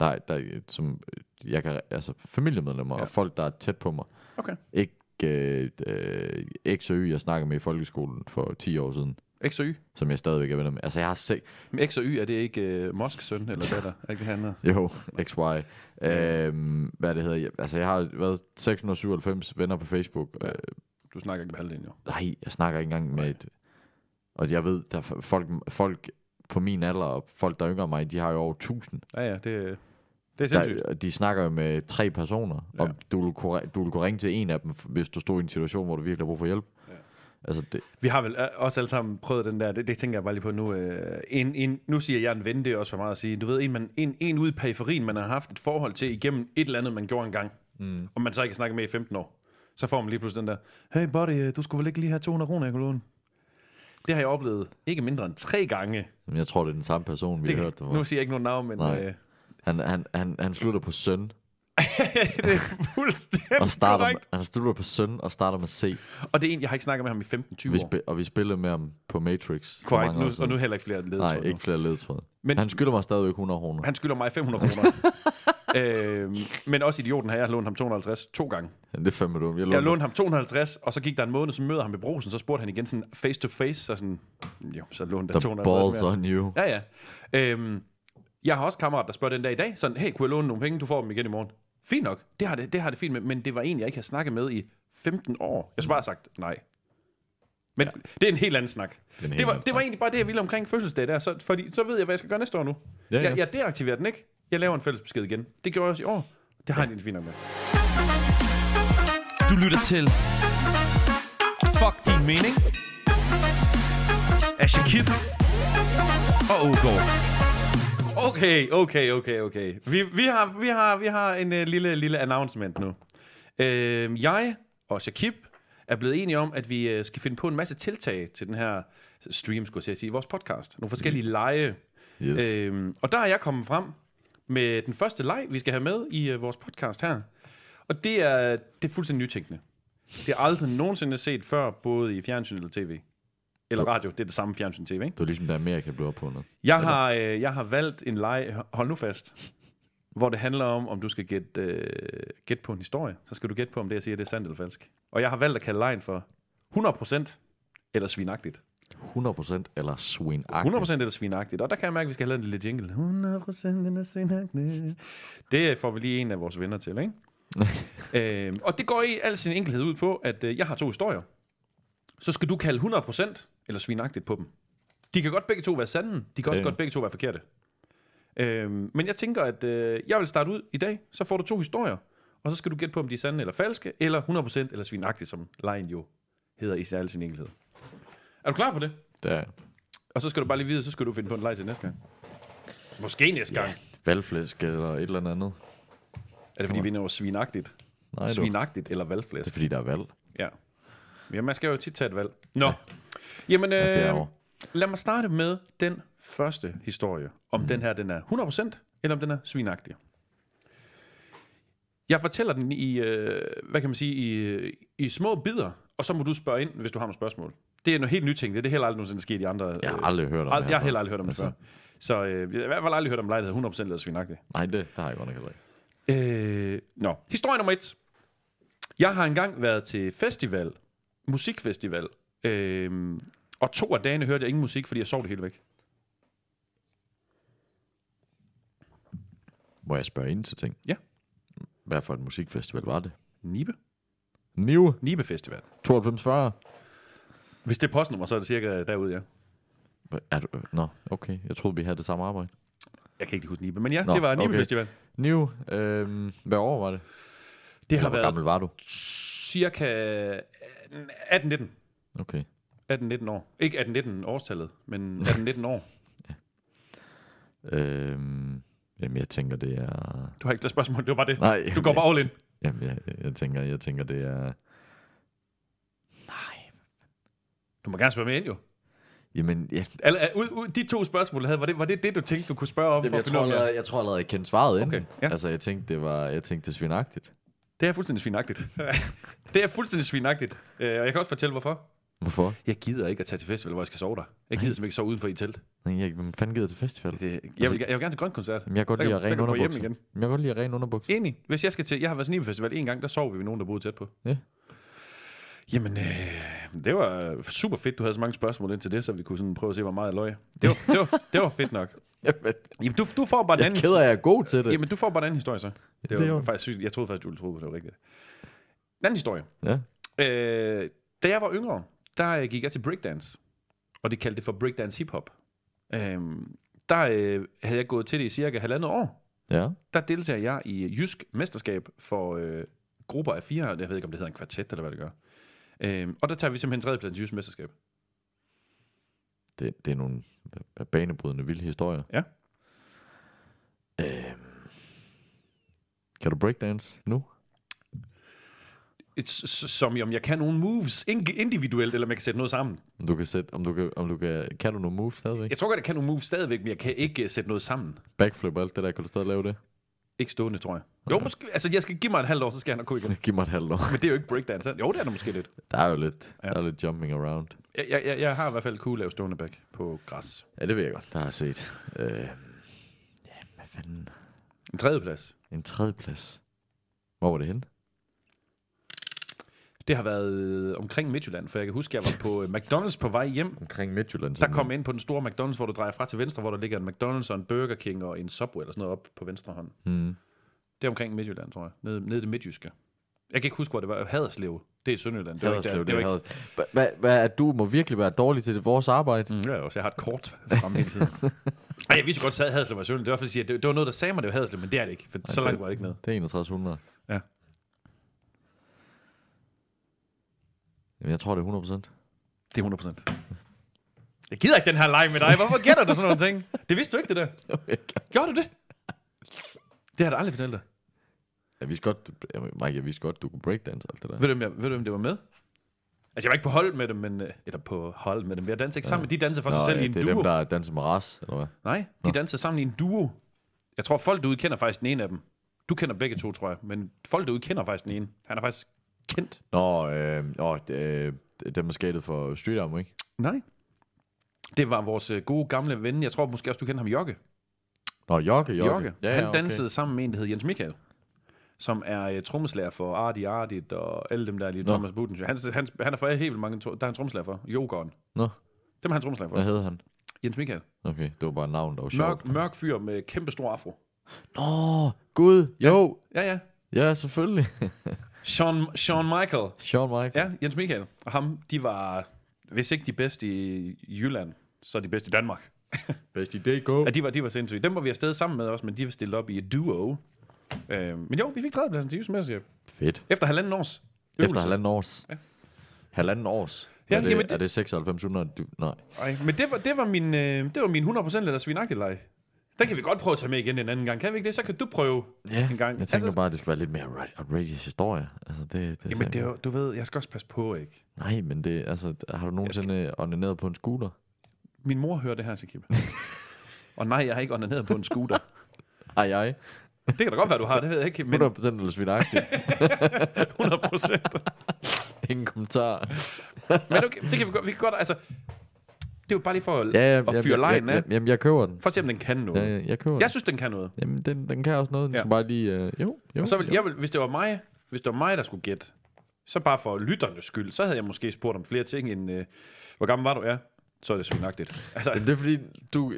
S1: Der, der, som, jeg kan, altså familiemedlemmer
S3: Ja.
S1: ja. og folk, der er tæt på mig.
S3: Okay.
S1: Ikke øh, øh, X og Y, jeg snakkede med i folkeskolen for 10 år siden,
S3: X og Y.
S1: som jeg stadigvæk er venner med. Altså, jeg har set...
S3: Men X og Y, er det ikke øh, Mosk søn eller datter? Er ikke det han er?
S1: Jo, XY. Øhm, hvad det hedder. jeg- Altså, jeg har været 697 venner på Facebook.
S3: Ja.
S1: Ja. Øh,
S3: Du snakker ikke med halvdelen, jo.
S1: nej, jeg snakker ikke engang
S3: Nej.
S1: med et... Og jeg ved, der er f- folk, folk på min alder og folk, der er yngre end mig, de har jo over 1000.
S3: Ja, ja, det, det er sindssygt.
S1: Der, de snakker jo med tre personer, ja.
S3: Ja.
S1: og du ville, kunne, du ville kunne ringe til en af dem, hvis du stod i en situation, hvor du virkelig har brug for hjælp.
S3: Ja.
S1: Ja. Altså, det,
S3: Vi har vel øh, også alle sammen prøvet den der, det, det tænker jeg bare lige på nu. Øh, en, en, nu siger jeg en ven, det er også for meget at sige. Du ved, en, man, en, en ude i periferien, man har haft et forhold til igennem et eller andet, man gjorde engang, mm. og man så ikke snakker med i 15 år. Så får man lige pludselig den der, hey buddy, øh, du skulle vel ikke lige have 200 kroner, jeg kunne låne? Det har jeg oplevet ikke mindre end tre gange.
S1: men jeg tror, det er den samme person, vi
S3: Det,
S1: har hørt det
S3: nu
S1: fra.
S3: siger jeg ikke nogen navn, men
S1: Nej.
S3: øh,
S1: Han, han, han, han slutter på søn,
S3: det er fuldstændig
S1: og starter,
S3: korrekt.
S1: han slutter på søn og starter med C.
S3: Og det er en, jeg har ikke snakket med ham i 15-20
S1: Vi
S3: år.
S1: spe, og vi spillede med ham på Matrix. for
S3: Korrekt,
S1: mange år
S3: nu, og
S1: siden.
S3: nu heller ikke flere ledtråde.
S1: Nej, ikke flere ledtråde.
S3: Men-
S1: Men, han skylder mig stadigvæk 100 kroner.
S3: Han skylder mig 500 kroner. øhm, men også idioten her, jeg har lånt ham 250 to gange.
S1: Ja, det er fandme dumt. Jeg
S3: Jeg
S1: lånte
S3: lånte ham 250, og så gik der en måned, så møder ham i brosen, så spurgte han igen sådan face to face, så sådan, jo, så lånte
S1: the
S3: han 250
S1: balls
S3: mere.
S1: on you.
S3: Ja, ja. Øhm, jeg har også kammerat, der spørger den dag i dag, sådan, hey, kunne jeg låne nogle penge, du får dem igen i morgen. Fint nok, det har det, det, har det fint med, men det var en, jeg ikke har snakket med i 15 år. Jeg skulle bare have sagt nej. Men ja. det er en helt anden snak.
S1: er en
S3: Det,
S1: helt
S3: var,
S1: anden
S3: det var egentlig bare det, jeg ville omkring fødselsdag der, så, fordi så ved jeg, hvad jeg skal gøre næste år nu.
S1: Ja, ja.
S3: Jeg, jeg deaktiverer den ikke. Jeg laver en fælles besked igen. Det gjorde jeg også i år. Det har jeg det fint nok med. Du lytter til Fuck din mening af Shakib og Ågaard. Okay, okay, okay, okay. Vi, vi, har, vi, har, vi har en uh, lille, lille announcement nu. Uh, jeg og Shakib er blevet enige om, at vi uh, skal finde på en masse tiltag til den her stream, skulle jeg til at sige, vores podcast. Nogle forskellige lege.
S1: Yes.
S3: Øhm, og der er jeg kommet frem med den første leg, vi skal have med i øh, vores podcast her. Og det er, det er fuldstændig nytænkende. Det er aldrig nogensinde set før, både i fjernsyn eller tv. Eller radio, det er det samme fjernsyn tv, ikke?
S1: Det var ligesom, da Amerika blev opfundet.
S3: Jeg har, øh, jeg har valgt en leg, hold nu fast, hvor det handler om, om du skal gætte øh, gætte på en historie. Så skal du gætte på, om det, jeg siger, det er sandt eller falsk. Og jeg har valgt at kalde lejen for 100% eller svinagtigt.
S1: 100% eller swing
S3: 100% eller svinagtigt. Og der kan jeg mærke, at vi skal have lavet en lille jingle. 100% eller svinagtigt. Det øh, får vi lige en af vores venner til, ikke? øhm, og det går i al sin enkelhed ud på, at øh, jeg har to historier. Så skal du kalde 100% eller svinagtigt på dem. De kan godt begge to være sande. De kan også
S1: Ja.
S3: godt begge to være forkerte. Øhm, men jeg tænker, at øh, jeg vil starte ud i dag. Så får du to historier. Og så skal du gætte på, om de er sande eller falske. Eller 100% eller svinagtigt, som lejen jo hedder i al sin enkelhed. Er du klar på det?
S1: Der.
S3: Og så skal du bare lige vide, så skal du finde på en leg til næste gang. Måske næste gang. Yeah.
S1: Valgflæsk eller et eller andet.
S3: Er det fordi, vi når svinagtigt?
S1: Nej, du.
S3: Svinagtigt eller
S1: Det er
S3: valgflæsk?
S1: fordi, der er valg.
S3: Ja. ja, man skal jo tit tage et valg. Nå. Jamen,
S1: fjerde
S3: øh,
S1: år.
S3: lad mig starte med den første historie. Om mm. den her, den er 100%, eller om den er svinagtig. Jeg fortæller den i, øh, hvad kan man sige, i, i små bidder, og så må du spørge ind, hvis du har nogle spørgsmål. Det er noget helt nyt ting. Det er heller aldrig nogensinde sket i andre... øh,
S1: Jeg har aldrig hørt om
S3: Ald-
S1: det
S3: jeg har
S1: her
S3: heller
S1: før.
S3: aldrig hørt om det
S1: Altså.
S3: før. Så øh, jeg har i hvert fald aldrig hørt om lejlighed 100% lavet svinagtigt.
S1: Nej, det, der har jeg godt nok heller ikke.
S3: Øh, nå, historie nummer et. Jeg har engang været til festival, musikfestival, øh, og to af dagene hørte jeg ingen musik, fordi jeg sov det hele væk.
S1: Må jeg spørge ind til ting?
S3: Ja.
S1: Hvad for et musikfestival var det?
S3: Nibe?
S1: Nive
S3: Nibe Festival.
S1: 9240.
S3: Hvis det er postnummer, så er det cirka derude, ja.
S1: Hvad Er du? Nå, okay. Jeg troede, vi havde det samme arbejde.
S3: Jeg kan ikke lige huske Nibe, men ja,
S1: Nå,
S3: det var Nibe
S1: okay.
S3: Festival.
S1: Nive, øhm, hvad år var det?
S3: Det har
S1: Eller, hvor
S3: været
S1: gammel var du?
S3: cirka 18-19.
S1: Okay.
S3: 18-19 år. Ikke 18-19 årstallet, men 18-19 år.
S1: Øhm, jamen, jeg tænker, det er...
S3: Du har ikke flere spørgsmål, det var bare det.
S1: Nej.
S3: Du går bare all in.
S1: Jamen, jeg, jeg, tænker, jeg tænker, det er... Nej.
S3: Du må gerne spørge med ind, jo.
S1: Jamen, jeg,
S3: Eller, øh, ud, ud, de to spørgsmål, du havde, var det, var det det, du tænkte, du kunne spørge om?
S1: Jamen,
S3: for at
S1: jeg,
S3: finde
S1: tror
S3: ud af, om jeg-
S1: allerede, jeg tror allerede, jeg kendte svaret
S3: Okay,
S1: inden.
S3: ja.
S1: Altså, jeg tænkte, det var, jeg tænkte, det er svinagtigt.
S3: Det er fuldstændig svinagtigt. det er fuldstændig svinagtigt. Øh, og jeg kan også fortælle, hvorfor.
S1: Hvorfor?
S3: Jeg gider ikke at tage til festival, hvor jeg skal sove der. Jeg gider simpelthen ikke sove udenfor i telt.
S1: Men jeg, hvem fanden gider til festival?
S3: Det, jeg, vil, jeg vil gerne til grøn koncert.
S1: Jamen, jeg kan godt
S3: Der
S1: lide
S3: kan-
S1: at
S3: der
S1: rene
S3: kan du gå hjem
S1: underbukser.
S3: igen.
S1: Jamen, Jeg kan godt lide at rene underbukser.
S3: Enig. Hvis jeg skal til... Jeg har været til Nibe Festival en gang, der sov vi ved nogen, der boede tæt på.
S1: Ja.
S3: Jamen, øh, det var super fedt, du havde så mange spørgsmål ind til det, så vi kunne sådan prøve at se, hvor meget jeg løg. Det var, det var, det var fedt nok.
S1: Jamen,
S3: Jamen, du, du får bare den
S1: jeg
S3: anden...
S1: er ked af, at jeg er god til det.
S3: Jamen, du får bare den anden historie så. Det,
S1: det er
S3: var,
S1: jo-
S3: faktisk sygt. Jeg troede faktisk, du ville tro, at det var rigtigt. Den anden historie.
S1: Ja.
S3: Øh, da jeg var yngre, der øh, gik jeg til breakdance. Og det kaldte det for breakdance hiphop. Øh, der øh, havde jeg gået til det i cirka halvandet år.
S1: Ja.
S3: Der deltager jeg i Jysk Mesterskab for øh, grupper af fire. Jeg ved ikke, om det hedder en kvartet, eller hvad det gør. Øh, og der tager vi simpelthen tredjeplads i Jysk Mesterskab.
S1: Det, det er nogle ba- banebrydende vilde historier.
S3: Ja.
S1: Øhm, kan du breakdance nu?
S3: Et, s- s- som i, om jeg kan nogle moves ind- individuelt, eller man kan sætte noget sammen.
S1: Om du kan sætte, om du kan, om du kan, kan du nogle moves stadigvæk?
S3: Jeg tror godt, jeg kan nogle moves stadigvæk, men jeg kan ikke øh, sætte noget sammen.
S1: Backflip og alt det der, kan du stadig lave det?
S3: Ikke stående, tror jeg. Jo, måske, altså jeg skal give mig en halv år, så skal jeg nok gå igen.
S1: Giv mig et halvt år.
S3: Men det er jo ikke breakdance. er det? Jo, det er der måske lidt.
S1: Der er jo lidt,
S3: Ja.
S1: ja. der er lidt jumping around.
S3: Jeg, jeg, jeg, jeg har i hvert fald kunne lave stående back på græs.
S1: Øhm. Ja, det ved jeg godt. Der har jeg set. Øh, ja, hvad fanden?
S3: En tredje plads.
S1: En tredjeplads. Hvor var det henne?
S3: Det har været øh, omkring Midtjylland, for jeg kan huske, jeg var på øh, McDonald's på vej hjem.
S1: Omkring Midtjylland.
S3: Der kom jeg ind på den store McDonald's, hvor du drejer fra til venstre, hvor der ligger en McDonald's og en Burger King og en Subway eller sådan noget op på venstre hånd.
S1: Mm.
S3: Det er omkring Midtjylland, tror jeg. Nede, nede i det midtjyske. Jeg kan ikke huske, hvor det var. Haderslev. Det er i Sønderjylland. Det var
S1: Haderslev,
S3: ikke
S1: det
S3: der. Det var
S1: er Haderslev. Hvad, hvad, at du må virkelig være dårlig til det vores arbejde.
S3: ikke... Mm, ja, også, jeg har et kort frem hele tiden. Ej, jeg vidste jo godt, at Haderslev var i Sønderjylland. Det var derfor, jeg siger, at det, det var noget, der sagde mig, det var Haderslev, men det er det ikke. For så langt var det ikke med.
S1: Det er 6100.
S3: Ja.
S1: Jamen, jeg tror, det er 100 procent.
S3: Det er 100 procent. Jeg gider ikke den her leg med dig. Hvorfor gætter du sådan nogle ting? Det vidste du ikke, det der. Gjorde du det? Det har du aldrig fortalt dig.
S1: Jeg vidste godt, du- jamen, Mike, jeg vidste godt, du kunne breakdance og alt det der.
S3: Ved du, om jeg, ved du, om det var med? Altså, jeg var ikke på hold med dem, men... øh, Eller på hold med dem. Jeg dansede ikke sammen med de danser for sig selv
S1: ja,
S3: i en
S1: øh, det er
S3: duo.
S1: dem, der danser med ras, eller hvad?
S3: Nej, de dansede sammen i en duo. Jeg tror, folk derude kender faktisk den ene af dem. Du kender begge to, tror jeg. Men folk derude kender faktisk den ene. Han er faktisk kendt.
S1: Nå, øh, åh, det, øh, dem, der skatede for Street Arm, ikke?
S3: Nej. Det var vores øh, gode gamle ven. Jeg tror måske også, du kender ham, Jokke.
S1: Nå, Jokke, Jokke.
S3: Jokke. Ja, han dansede sammen med en, der hed Jens Michael, som er uh, trommeslager for Arti Artit og alle dem der er lige
S1: Nå.
S3: Thomas Budensjø. Han, han, han er for helt vildt mange, to- der er han trommeslager for. Jokeren.
S1: Nå,
S3: Dem er han trommeslager for.
S1: hvad hed han?
S3: Jens Michael.
S1: Okay, det var bare et navn, der var sjovt.
S3: Mørk, mørk fyr med kæmpe stor afro.
S1: Nå, Gud, jo.
S3: Ja, ja.
S1: Ja, selvfølgelig.
S3: Sean, Sean Michael.
S1: Sean Mike.
S3: Ja, Jens Michael og ham, de var, hvis ikke de bedste i Jylland, så de bedste i Danmark.
S1: Bedst idé, go.
S3: Ja, de var, de var sindssyge. Dem var vi afsted sammen med også, men de var stillet op i et duo. Øh, men jo, vi fik tredjepladsen til Jysk Mesterskab.
S1: Fedt.
S3: Efter halvanden års øvelse.
S1: Efter halvanden års.
S3: Ja.
S1: Halvanden års.
S3: Ja,
S1: er, det,
S3: jamen, det-
S1: er det 9600? Du- Nej.
S3: Ej, men det var, det var min, øh, det var min 100% liter svinagtelej. Den kan vi godt prøve at tage med igen en anden gang. Kan vi ikke det? Så kan du prøve en gang.
S1: Jeg tænker
S3: altså,
S1: bare, at det skal være lidt mere outra- outrageous historie. Altså, det, det,
S3: Jamen, det er, jo- du ved, jeg skal også passe på, ikke?
S1: Nej, men det, altså, har du nogensinde skal... ordineret på en scooter?
S3: Min mor hører det her, Sakib. Og nej, jeg har ikke onaneret på en scooter.
S1: Ej, ej.
S3: Det kan da godt være, du har, det ved jeg ikke. Men
S1: 100% eller svinagtigt.
S3: 100 procent.
S1: Ingen kommentar.
S3: Men okay, det kan vi godt, vi kan godt, altså... Det er jo bare lige for at,
S1: Ja, ja,
S3: at fyre lejen
S1: ja, ja,
S3: af.
S1: jamen, jeg køber den.
S3: For at se, om den kan
S1: Ja,
S3: noget.
S1: ja, jeg køber
S3: Jeg
S1: den.
S3: synes, den kan noget.
S1: Jamen, den, den kan også noget. Den
S3: Ja.
S1: skal bare lige... Øh, jo, jo.
S3: Og så vil,
S1: jo.
S3: jeg vil, hvis det var mig, hvis det var mig, der skulle gætte, så bare for lytternes skyld, så havde jeg måske spurgt om flere ting end, øh, hvor gammel var du? Ja, så er det svinagtigt. Altså,
S1: Jamen, det er fordi, du...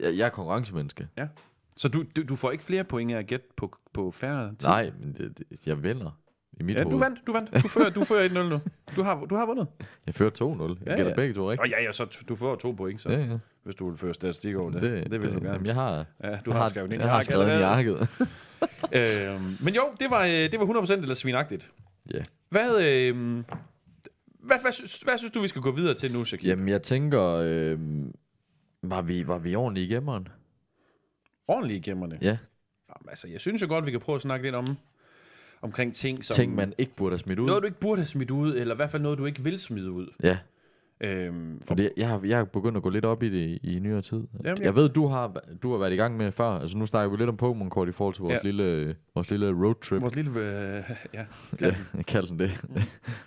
S1: Jeg, jeg er konkurrencemenneske.
S3: ja. Så du, du, du får ikke flere point af at gætte på, på færre tid?
S1: Nej, men det, det, jeg vinder i mit
S3: Ja,
S1: hoved.
S3: du vandt, du vandt. Du fører, du fører 1-0 nu. Du har, du har vundet.
S1: Jeg fører 2-0. Jeg
S3: Ja,
S1: ja, gætter
S3: ja.
S1: begge to, rigtigt?
S3: Og ja, ja, så t- du får to point, så,
S1: Ja, ja.
S3: hvis du vil føre statistik over det. Det, det vil du
S1: Jamen,
S3: gerne.
S1: jeg har,
S3: Ja, du
S1: jeg
S3: har skrevet den ind i
S1: jeg har
S3: arket
S1: skrevet den i
S3: allerede.
S1: arket.
S3: Øhm, men jo, det var, øh, det var 100% eller svinagtigt.
S1: ja.
S3: Hvad, øh, hvad, hvad, synes, hvad synes du, vi skal gå videre til nu, Shaquille?
S1: Jamen, jeg tænker... Øh, var, vi, var vi ordentligt i gemmeren?
S3: Ordentlige gemmerne.
S1: Ja.
S3: Jamen, altså, jeg synes jo godt, vi kan prøve at snakke lidt om omkring ting, som...
S1: Ting, man ikke burde have smidt ud.
S3: Noget, du ikke burde have smidt ud, eller i hvert fald noget, du ikke vil smide ud.
S1: Ja,
S3: Øhm,
S1: fordi jeg har, jeg har begyndt at gå lidt op i det i, i nyere tid. Jamen,
S3: Jamen,
S1: jeg... jeg ved, du har, du har været i gang med før. Altså, nu snakker vi lidt om Pokémon-kort i forhold til vores,
S3: Ja.
S1: ja. lille, vores lille roadtrip.
S3: vores lille... Øh, ja.
S1: Ja, jeg kalder den det.
S3: Mm.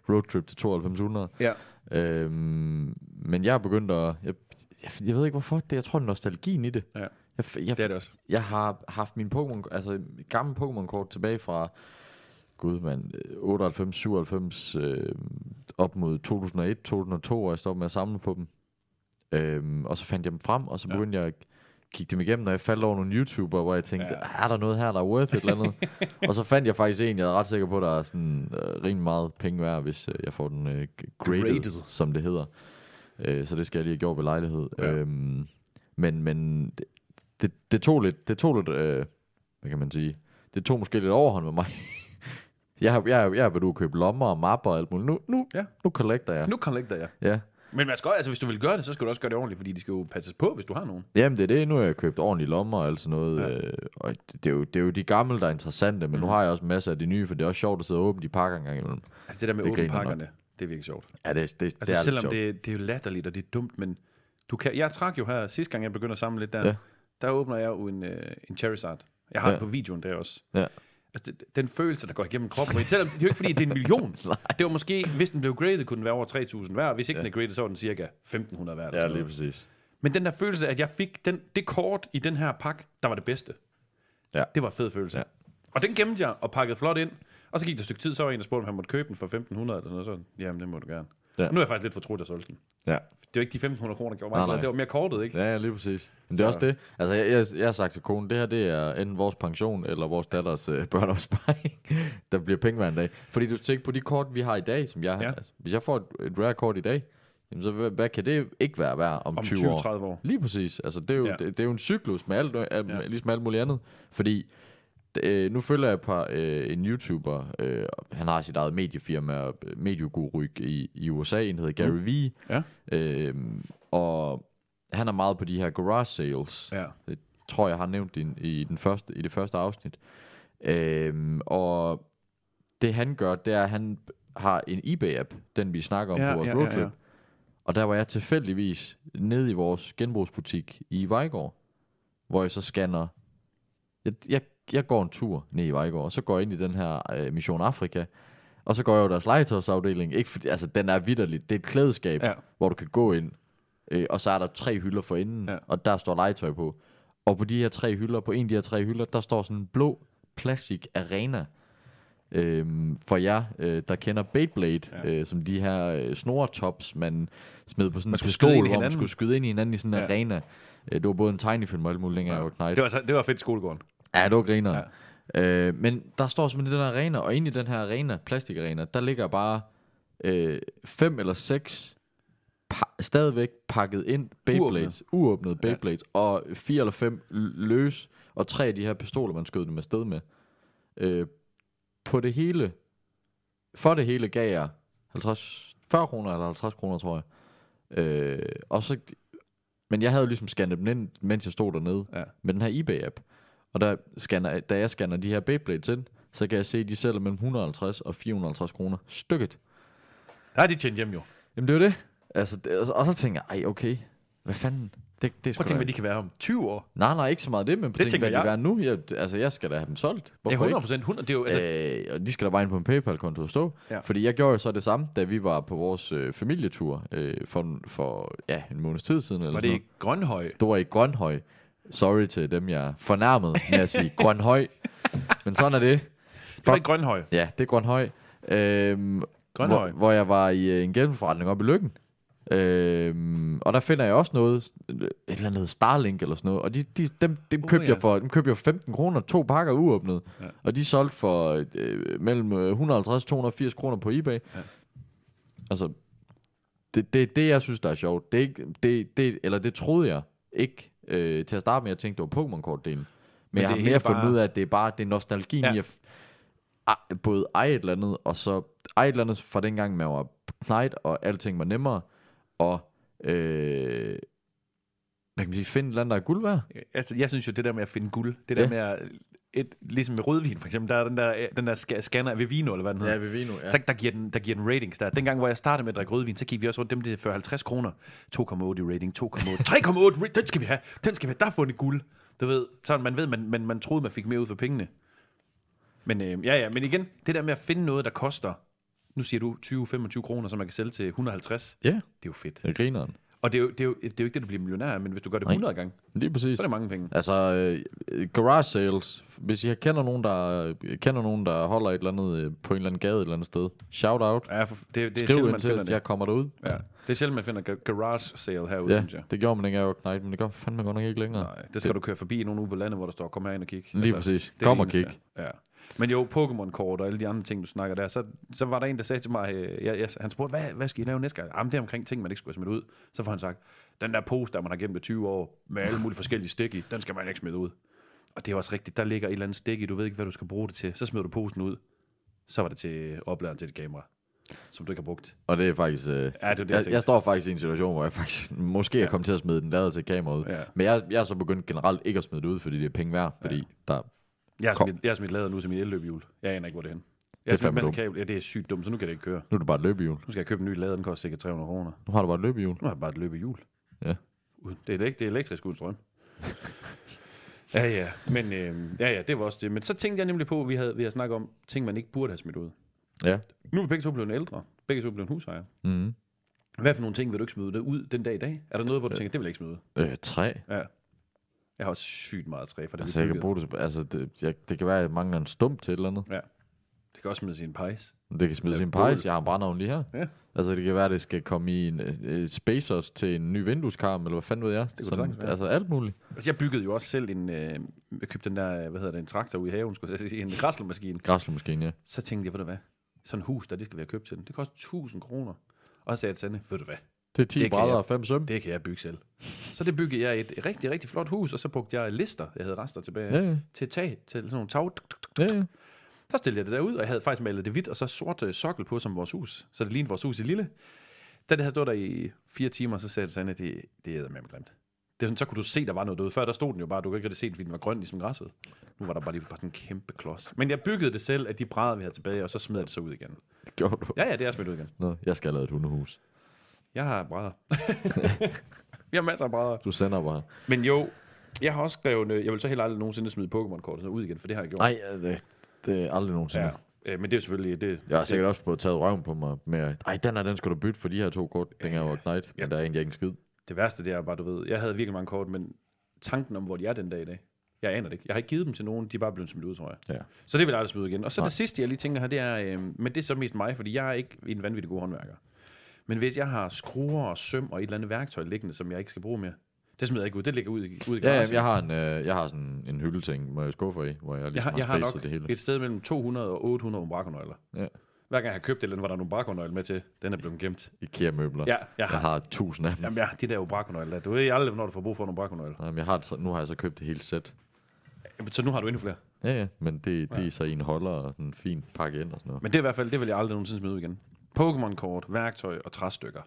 S1: roadtrip til 9200.
S3: ja.
S1: Øhm, men jeg er begyndt at... Jeg, jeg, jeg ved ikke, hvorfor. Det, jeg tror, det er nostalgien i det.
S3: Ja.
S1: Jeg, f- jeg,
S3: Det er det også.
S1: jeg har haft min Pokémon, altså gamle Pokémon-kort tilbage fra, gud mand, øh, 98, 97, øh, op mod 2001, 2002, hvor jeg stoppede med at samle på dem. Øhm, og så fandt jeg dem frem, og så
S3: Ja.
S1: begyndte ja. jeg at kigge dem igennem, når jeg faldt over nogle YouTubere, hvor jeg tænkte,
S3: Ja.
S1: ja. er der noget her, der er worth et eller andet? og så fandt jeg faktisk en, jeg er ret sikker på, der er sådan øh, rimelig meget penge værd, hvis øh, jeg får den øh, graded,
S3: Graded.
S1: graded, som det hedder. Øh, så det skal jeg lige have gjort ved lejlighed.
S3: Ja.
S1: Ja. Øhm, men men det, det, det tog lidt, det tog lidt øh, hvad kan man sige, det tog måske lidt overhånd med mig. jeg har jeg, har- jeg, jeg ved at købe lommer og mapper og alt muligt. Nu, nu,
S3: Ja.
S1: ja. nu collecter jeg. Nu.
S3: Nu collecter jeg.
S1: Ja.
S3: Men man skal, også- altså, hvis du vil gøre det, så skal du også gøre det ordentligt, fordi de skal jo passes på, hvis du har nogen.
S1: Jamen det er det, nu har jeg købt ordentlige lommer og alt sådan noget.
S3: Ja.
S1: Ja. Øh, og det, det, er jo, det er jo de gamle, der er interessante, men mm. nu har jeg også masser af de nye, for det er også sjovt at sidde og åbne de pakker en gang imellem.
S3: Altså, det der med
S1: Det
S3: åbne
S1: griner nok.
S3: pakkerne, det er virkelig sjovt.
S1: Ja, det, det, det
S3: Altså,
S1: er
S3: det er
S1: lidt
S3: selvom
S1: sjovt.
S3: det, det er jo latterligt, og det er dumt, men du kan, jeg trak jo her, sidste gang jeg begyndte at samle lidt der, ja.
S1: Ja.
S3: der åbner jeg jo en, øh, en Charizard. Jeg har ja.
S1: Ja.
S3: den på videoen der også.
S1: Ja.
S3: Altså, det, den følelse, der går igennem kroppen, og selvom det er jo ikke fordi, det er en million. det var måske, hvis den blev graded, kunne den være over 3.000 værd, og hvis ikke ja. den er graded, så var den cirka 1.500 værd. eller
S1: Ja,
S3: sådan
S1: lige
S3: noget.
S1: præcis.
S3: Men den der følelse, at jeg fik den, det kort i den her pakke, der var det bedste.
S1: Ja.
S3: Det var en fed følelse.
S1: Ja.
S3: Ja. Og den gemte jeg og pakkede flot ind. Og så gik der et stykke tid, så var en, der spurgte, om han måtte købe den for 1.500 eller noget sådan. Jamen, det må du gerne.
S1: Ja.
S3: Ja. Nu er jeg faktisk lidt fortrudt, at jeg solgte den.
S1: Ja.
S3: Det var ikke de 1.500 kroner, der gjorde
S1: Nej,
S3: mig glad.
S1: nej.
S3: Det var mere kortet, ikke?
S1: Ja, lige præcis. Men det er
S3: Så-
S1: også det. Altså, jeg, jeg, jeg har sagt til konen, det her det er enten vores pension eller vores datters øh, børneopsparing, der bliver penge hver en dag. Fordi du tænker på de kort, vi har i dag, som jeg har. Ja.
S3: Ja.
S1: Altså, hvis jeg får et, et rare kort i dag, jamen, så hvad, hvad kan det ikke være værd om,
S3: Om
S1: 20,
S3: 20-30
S1: år?
S3: år.
S1: Lige præcis. Altså, det, er jo, ja.
S3: Ja.
S1: det, det er jo en cyklus med alt, al, ja.
S3: Ja.
S1: ligesom alt muligt andet. Fordi øh, nu følger jeg et par, øh, en YouTuber, øh, han har sit eget mediefirma, og medieguru i, i USA, en hedder Gary mm. Vee.
S3: Ja.
S1: Øh, og han er meget på de her garage sales.
S3: Ja.
S1: Det tror jeg har nævnt i, i, den første, i det første afsnit. Øhm, og det han gør, det er, at han har en eBay-app, den vi snakker om
S3: Ja,
S1: på vores
S3: ja, ja,
S1: roadtrip.
S3: ja.
S1: Og der var jeg tilfældigvis nede i vores genbrugsbutik i Vejgaard, hvor jeg så scanner... Jeg, jeg, jeg går en tur ned i Vejgaard, og så går jeg ind i den her øh, Mission Afrika, og så går jeg over deres legetøjsafdeling. Ikke fordi, altså, den er vidderlig. Det er et klædeskab,
S3: Ja.
S1: hvor du kan gå ind, øh, og så er der tre hylder for enden, ja.
S3: Ja.
S1: og der står legetøj på. Og på de her tre hylder, på en af de her tre hylder, der står sådan en blå plastik arena. Øhm, for jer, øh, der kender Beyblade, ja.
S3: Ja.
S1: øh, som de her øh, snoretops, man smed på sådan en
S3: skulle
S1: pistol,
S3: skyde ind i
S1: hvor man
S3: hinanden.
S1: skulle skyde ind i hinanden i sådan en ja.
S3: Ja.
S1: arena. Øh, det var både en tegnefilm og alt muligt, længere ja. jeg var knejt.
S3: Det var, altså- det var fedt i skolegården.
S1: Ja, det var grineren. Ja. Øh, men der står simpelthen den her arena, og inde i den her arena, plastikarena, der ligger bare øh, fem eller seks pa- stadigvæk pakket ind Beyblades, uåbnede, uåbnede Beyblades, ja. og fire eller fem l- løs, og tre af de her pistoler, man skød dem afsted med. Øh, på det hele, for det hele gav jeg 50, 40 kroner eller 50 kroner, tror jeg. Øh, og så, men jeg havde jo ligesom scannet dem ind, mens jeg stod dernede,
S3: Ja.
S1: med den her eBay-app. Og der scanner, da jeg scanner de her Beyblades ind, så kan jeg se, at de sælger mellem 150 og 450 kroner stykket.
S3: Der er de tjent hjem jo.
S1: Jamen det er jo det. Altså, det og, så- og så tænker jeg, ej okay, hvad fanden? Det, det er
S3: Prøv
S1: sgu
S3: at tænke,
S1: da...
S3: hvad de kan være om 20 år.
S1: Nej, nej, ikke så meget det, men på
S3: Det
S1: tænker, hvad
S3: tænker
S1: de er nu. Jeg, altså, jeg skal da have dem solgt.
S3: Ja,
S1: Hvorfor
S3: 100
S1: ikke?
S3: procent. 100, det er jo, altså,
S1: Øh, og de skal da bare ind på en PayPal-konto og stå. Ja.
S3: Ja.
S1: Fordi jeg gjorde jo så det samme, da vi var på vores øh, familietur øh, for, for ja, en måneds tid siden. Eller
S3: var
S1: sådan
S3: det
S1: noget.
S3: ikke Grønhøj?
S1: Det var i Grønhøj. Sorry til dem, jeg fornærmede med at sige Grønhøj. Men sådan er det.
S3: Det var ikke Grønhøj.
S1: Ja, det er Grønhøj. Øhm,
S3: Grønhøj.
S1: Hvor, hvor jeg var i øh, en genforretning oppe i Lykken. Øhm, og der finder jeg også noget, et eller andet Starlink eller sådan noget, og de, de, dem, dem,
S3: Uh,
S1: købte
S3: ja.
S1: jeg for, dem købte jeg for 15 kroner, to pakker uåbnet, ja.
S3: Ja.
S1: og de solgte for øh, mellem øh, 150 og 280 kroner på eBay. Ja.
S3: Ja.
S1: Altså, det, det, det jeg synes, der er sjovt, det, er ikke, det, det, eller det troede jeg ikke øh, til at starte med, jeg tænkte, det var Pokémon-kortdelen. Men, Men
S3: det
S1: jeg har
S3: er
S1: mere
S3: helt
S1: fundet
S3: bare-
S1: ud af, at det er bare det er nostalgien ja.
S3: Ja.
S1: i at ej- både eje et eller andet, og så eje et eller andet fra dengang, man var knight, og alting var nemmere, og øh, hvad kan man sige, finde et eller andet, der er guld værd.
S3: Altså, jeg synes jo, det der med at finde guld, det der
S1: Ja.
S3: med at, et, ligesom med rødvin for eksempel, der er den der, øh, den der ska- scanner af Vivino, eller hvad den hedder.
S1: ved vi nu, ja.
S3: Der, der, giver den, der giver den ratings der. Dengang, hvor jeg startede med at drikke rødvin, så gik vi også rundt dem til 40-50 kroner. 2,8 i rating, 2,8, 3,8, ra- den skal vi have, den skal vi have, der er fundet guld. Du ved, sådan man ved, man, man, man troede, man fik mere ud for pengene. Men øh, ja, ja, men igen, det der med at finde noget, der koster, nu siger du 20-25 kroner, som man kan sælge til 150,
S1: Ja,
S3: det er jo fedt.
S1: det er grineren.
S3: Og det er, jo, det, er jo, det er jo ikke det, du bliver millionær af, men hvis du gør det 100 gange, så
S1: Lige præcis.
S3: er det mange penge.
S1: Altså, øh, garage sales. Hvis I kender nogen, der, kender nogen, der holder et eller andet øh, på en eller anden gade et eller andet sted, shout out.
S3: Ja, for det, det er
S1: Skriv
S3: sjældent,
S1: ind
S3: man
S1: til,
S3: finder
S1: at
S3: det.
S1: jeg kommer derud.
S3: Ja. Det er sjældent, man finder ga- garage sale herude,
S1: Ja,
S3: synes jeg.
S1: det gjorde man ikke af Knight, men det gør fandme godt nok ikke længere.
S3: Nej, det skal du køre forbi i nogle ude på landet, hvor der står, kom herind og kig.
S1: Lige præcis.
S3: det er det
S1: Kom og
S3: eneste.
S1: kig.
S3: Ja. Men jo, Pokémon-kort og alle de andre ting, du snakker der, så, så var der en, der sagde til mig, øh, jeg, jeg, han spurgte, hvad, hvad skal I lave næste gang? Jamen, det er omkring ting, man ikke skulle have smidt ud. Så får han sagt, den der pose, der man har gemt i 20 år, med alle mulige forskellige stik i, den skal man ikke smide ud. Og det er også rigtigt, der ligger et eller andet stik i, du ved ikke, hvad du skal bruge det til. Så smider du posen ud, så var det til opladeren til dit kamera, som du ikke har brugt.
S1: Og det er faktisk... Øh,
S3: Ja, det er det, jeg
S1: jeg,
S3: tænkte.
S1: jeg står faktisk i en situation, hvor jeg faktisk måske er kommet til at smide den lader til kameraet ud.
S3: Ja.
S1: Men jeg, jeg er så begyndt generelt ikke at smide det ud, fordi det er penge værd. Fordi der,
S3: Jeg har
S1: Kom.
S3: smidt, jeg har smidt lader nu til min elløbehjul. Jeg aner ikke, hvor det er henne. Jeg
S1: er
S3: har smidt
S1: fandme
S3: en masse
S1: dumt.
S3: kabel. Ja, det er sygt dumt, så nu kan det ikke køre.
S1: nu er det bare et løbehjul.
S3: Nu skal jeg købe en ny lader, den koster cirka 300 kroner.
S1: Nu har du bare et løbehjul.
S3: Nu har jeg bare et løbehjul.
S1: Ja.
S3: Uden- Det er, elek- det er elektrisk uden strøm. ja, ja. Men øh, ja, ja, det var også det. Men så tænkte jeg nemlig på, at vi havde, vi havde snakket om ting, man ikke burde have smidt ud.
S1: Ja.
S3: Nu er vi begge to blevet ældre. Begge to blevet husejer.
S1: Mm-hmm.
S3: Hvad for nogle ting vil du ikke smide ud den dag i dag? Er der noget, hvor du tænker, det vil jeg ikke smide ud?
S1: Øh, træ.
S3: Ja. Jeg har også sygt meget træ for det.
S1: Altså,
S3: vi
S1: jeg kan
S3: byggede.
S1: bruge det, til- altså, det, jeg, det kan være, at jeg mangler en stump til et eller andet.
S3: Ja. Det kan også smide sin pejs.
S1: Men Det kan smide sin
S3: bål.
S1: pejs. Jeg har en brændeovn lige her.
S3: Ja.
S1: Altså, det kan være, at det skal komme i en uh, spacers til en ny vindueskarm, eller hvad fanden ved jeg. Det
S3: kunne sagtens være.
S1: Altså, alt muligt.
S3: Altså, jeg byggede jo også selv en... Øh, jeg købte den der, øh, hvad hedder det, en traktor ude i haven, skulle jeg til at sige, en græslemaskine.
S1: Græslemaskine, ja.
S3: Så tænkte jeg, ved du hvad, sådan et hus der, det skal være købt til den. Det koster 1000 kroner. Og så sagde jeg til Sanne, ved du hvad,
S1: Det er 10
S3: Det
S1: det
S3: kan
S1: brædder
S3: jeg.
S1: og 5 søm.
S3: det kan jeg bygge selv. Så det byggede jeg et rigtig, rigtig flot hus, og så brugte jeg lister, jeg havde rester tilbage,
S1: Ja, ja.
S3: til tag, til sådan nogle tag.
S1: ja, ja.
S3: Så stillede jeg det derud, og jeg havde faktisk malet det hvidt, og så sort øh, sokkel på som vores hus. Så det lignede vores hus i lille. Da det havde stået der i fire timer, så sagde Sanne, det, det er med grimt. Det er sådan, så kunne du se, der var noget derude. Før der stod den jo bare, du kunne ikke rigtig se, den, fordi den var grøn, ligesom græsset. Nu var der bare lige bare sådan en kæmpe klods. Men jeg byggede det selv af de brædder, vi havde tilbage, og så smed jeg det så ud igen.
S1: Det gjorde du.
S3: Ja, ja, det er smidt ud igen.
S1: Nå, jeg skal have lavet et hundehus.
S3: Jeg har brædder. vi har masser af brædder.
S1: Du sender bare.
S3: Men jo, jeg har også skrevet, øh, jeg vil så heller aldrig nogensinde smide Pokémon-kortet ud igen, for det har jeg gjort.
S1: Nej, det, det er aldrig nogensinde.
S3: Ja.
S1: Ja.
S3: Øh, Men det er jo selvfølgelig... Det,
S1: Jeg har sikkert også fået taget røven på mig med, at, ej, den her, den skulle du bytte for de her to kort, dengang jeg var knight, men der er egentlig ikke en skid.
S3: Det værste det er bare, du ved, jeg havde virkelig mange kort, men tanken om, hvor de er den dag i dag, jeg aner det ikke. Jeg har ikke givet dem til nogen, de er bare blevet smidt ud, tror jeg.
S1: Ja.
S3: Så det vil jeg aldrig smide ud igen. Og så det sidste, jeg lige tænker her, det er, øh, men det er så mest mig, fordi jeg er ikke en vanvittig god håndværker. Men hvis jeg har skruer og søm og et eller andet værktøj liggende, som jeg ikke skal bruge mere, det smider jeg ikke ud. Det ligger ud, i- ud i
S1: Ja,
S3: garagen.
S1: jamen, jeg har en, øh, jeg har sådan en hyldeting, hvor jeg skuffer i, hvor jeg
S3: jeg
S1: ligesom
S3: har, jeg har nok
S1: det hele.
S3: et sted mellem 200 og 800 umbrakonøgler.
S1: Ja.
S3: Hver gang jeg har købt et eller andet, hvor der er nogle umbrakonøgle med til, den er blevet gemt.
S1: IKEA-møbler.
S3: Ja, jeg
S1: Jeg
S3: har,
S1: har tusind af dem.
S3: jamen, ja, de der umbrakonøgler, der. du ved aldrig, hvornår du får brug for en umbrakonøgle.
S1: Jamen, jeg har, et så- nu har jeg så købt det hele sæt.
S3: Jamen, Så nu har du endnu flere.
S1: Ja, ja, men det, det er så i en holder og sådan en fin pakke ind og sådan noget.
S3: Men det er i hvert fald, det vil jeg aldrig nogensinde smide ud igen. Pokémon-kort, værktøj og træstykker.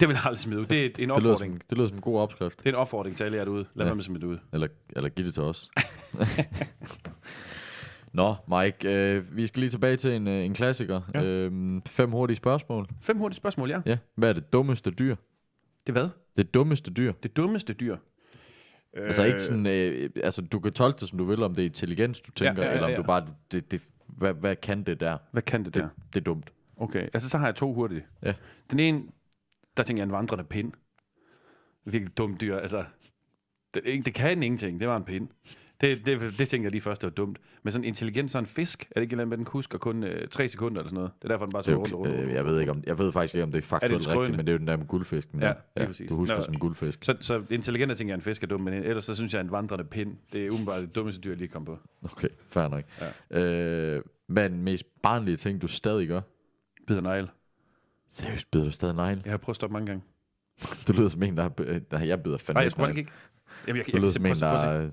S3: Det vil jeg aldrig smide ud. Det er en
S1: Det lyder,
S3: opfordring.
S1: som, det lyder som en god opskrift.
S3: Det er en opfordring til alle jer derude. Lad
S1: Ja.
S3: ja. mig smide det ud.
S1: Eller, eller giv det til os. Nå, Mike, øh, vi skal lige tilbage til en, øh, en klassiker. Ja.
S3: Ja.
S1: Øhm, fem hurtige spørgsmål.
S3: Fem hurtige spørgsmål, ja.
S1: Ja. Hvad er det dummeste dyr?
S3: Det er hvad?
S1: Det dummeste dyr.
S3: Det dummeste dyr.
S1: Altså ikke sådan, øh, altså du kan tolke det, som du vil, om det er intelligens, du tænker, ja, ja, ja, eller om
S3: ja.
S1: du bare, det, det, hvad, hvad kan det der?
S3: Hvad kan det
S1: Det,
S3: der?
S1: ja. det er dumt.
S3: Okay, altså så har jeg to hurtige.
S1: Ja.
S3: Den ene, der tænker jeg en vandrende pind. Virkelig dumt dyr, altså. Det, ikke- det kan ingenting, det var en pind. Det, det, det tænker jeg lige først, det var dumt. Men sådan intelligent, sådan en fisk, er det ikke et eller andet med, den kusker kun øh, tre sekunder eller sådan noget? Det er derfor, den bare
S1: Det er
S3: så
S1: jo,
S3: Altså, rundt og rundt.
S1: øh, jeg ved ikke om, jeg ved faktisk ikke, om det er faktuelt
S3: Er det en
S1: rigtigt,
S3: skrøne?
S1: men det er jo den der med guldfisken. der.
S3: Ja, lige præcis.
S1: Du husker
S3: Nå.
S1: som en guldfisk.
S3: Så, så intelligent jeg tænker, at en fisk er dum, men ellers så synes jeg, at en vandrende pind, det er umiddelbart det dummeste dyr, jeg lige kom på.
S1: Okay, fair nok. Ja. Øh, hvad er den mest barnlige ting, du stadig gør?
S3: Bider negl.
S1: Seriøst, bider du stadig negl?
S3: Jeg har prøvet at stoppe mange gange.
S1: Du lyder som en, der... har- øh, Nej, jeg bider fandme
S3: Nej, jeg skulle
S1: negl.
S3: ikke. Jamen, jeg, jeg,
S1: Du
S3: jeg,
S1: lyder
S3: jeg,
S1: som en, der...
S3: jeg,
S1: er- Jeg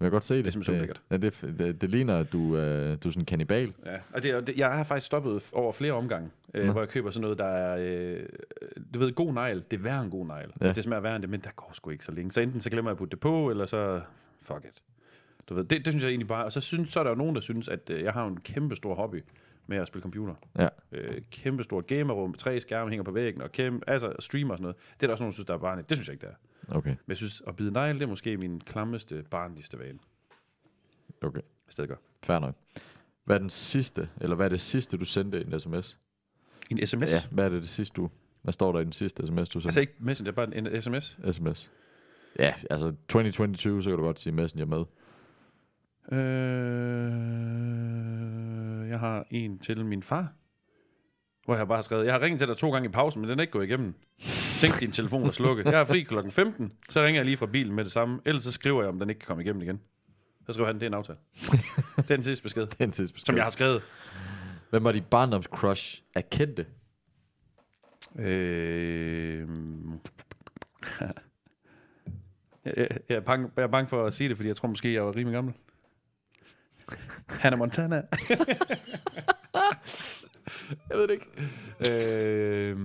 S1: kan godt se det.
S3: simpelthen så ulækkert.
S1: ja, det, f- det, det ligner, at du, øh, du er sådan en kannibal.
S3: Ja, og det, og det, jeg har faktisk stoppet over flere omgange, øh, hvor jeg køber sådan noget, der er, øh, du ved, god negl, det er værre en god negl.
S1: Ja.
S3: Ja. Det smager værre end det, men der går sgu ikke så længe. Så enten så glemmer jeg at putte det på, eller så, fuck it. Du ved, det, det synes jeg egentlig bare, og så, synes, så er der jo nogen, der synes, at øh, jeg har jo en kæmpe stor hobby med at spille computer.
S1: Ja.
S3: Øh, kæmpe stort gamerrum, med tre skærme hænger på væggen, og kæmpe, altså streamer og sådan noget. Det er der også nogen, der synes, der er barnligt. Det synes jeg ikke, det er.
S1: Okay,
S3: Men jeg synes, at bide negl, det er måske min klammeste, barnligste vane.
S1: okay.
S3: Jeg stadig gør.
S1: Fair nok. Hvad er den sidste, eller hvad er det sidste, du sendte en sms?
S3: En sms? Ja.
S1: Ja, hvad er det, det sidste, du... Hvad står der i den sidste sms, du
S3: Altså
S1: sendte?
S3: ikke messenger, bare en, en sms.
S1: Altså, sms. Ja, altså 2022, så kan du godt sige messenger med.
S3: Øh, jeg har en til min far. Hvor jeg bare har skrevet, jeg har ringet til dig to gange i pausen, men den er ikke gået igennem. Tænk din telefon er slukket. Jeg er fri kl. 15, så ringer jeg lige fra bilen med det samme. Ellers så skriver jeg, om den ikke kan komme igennem igen. Så skriver han, det er en aftale. Det er den sidste besked,
S1: Den sidste besked.
S3: som jeg har skrevet.
S1: Hvem var dit barndomscrush af kendte?
S3: Øh, jeg, jeg, jeg, er bange, jeg er bange for at sige det, fordi jeg tror måske, jeg var rimelig gammel. Hannah Montana. jeg ved det ikke. Øh,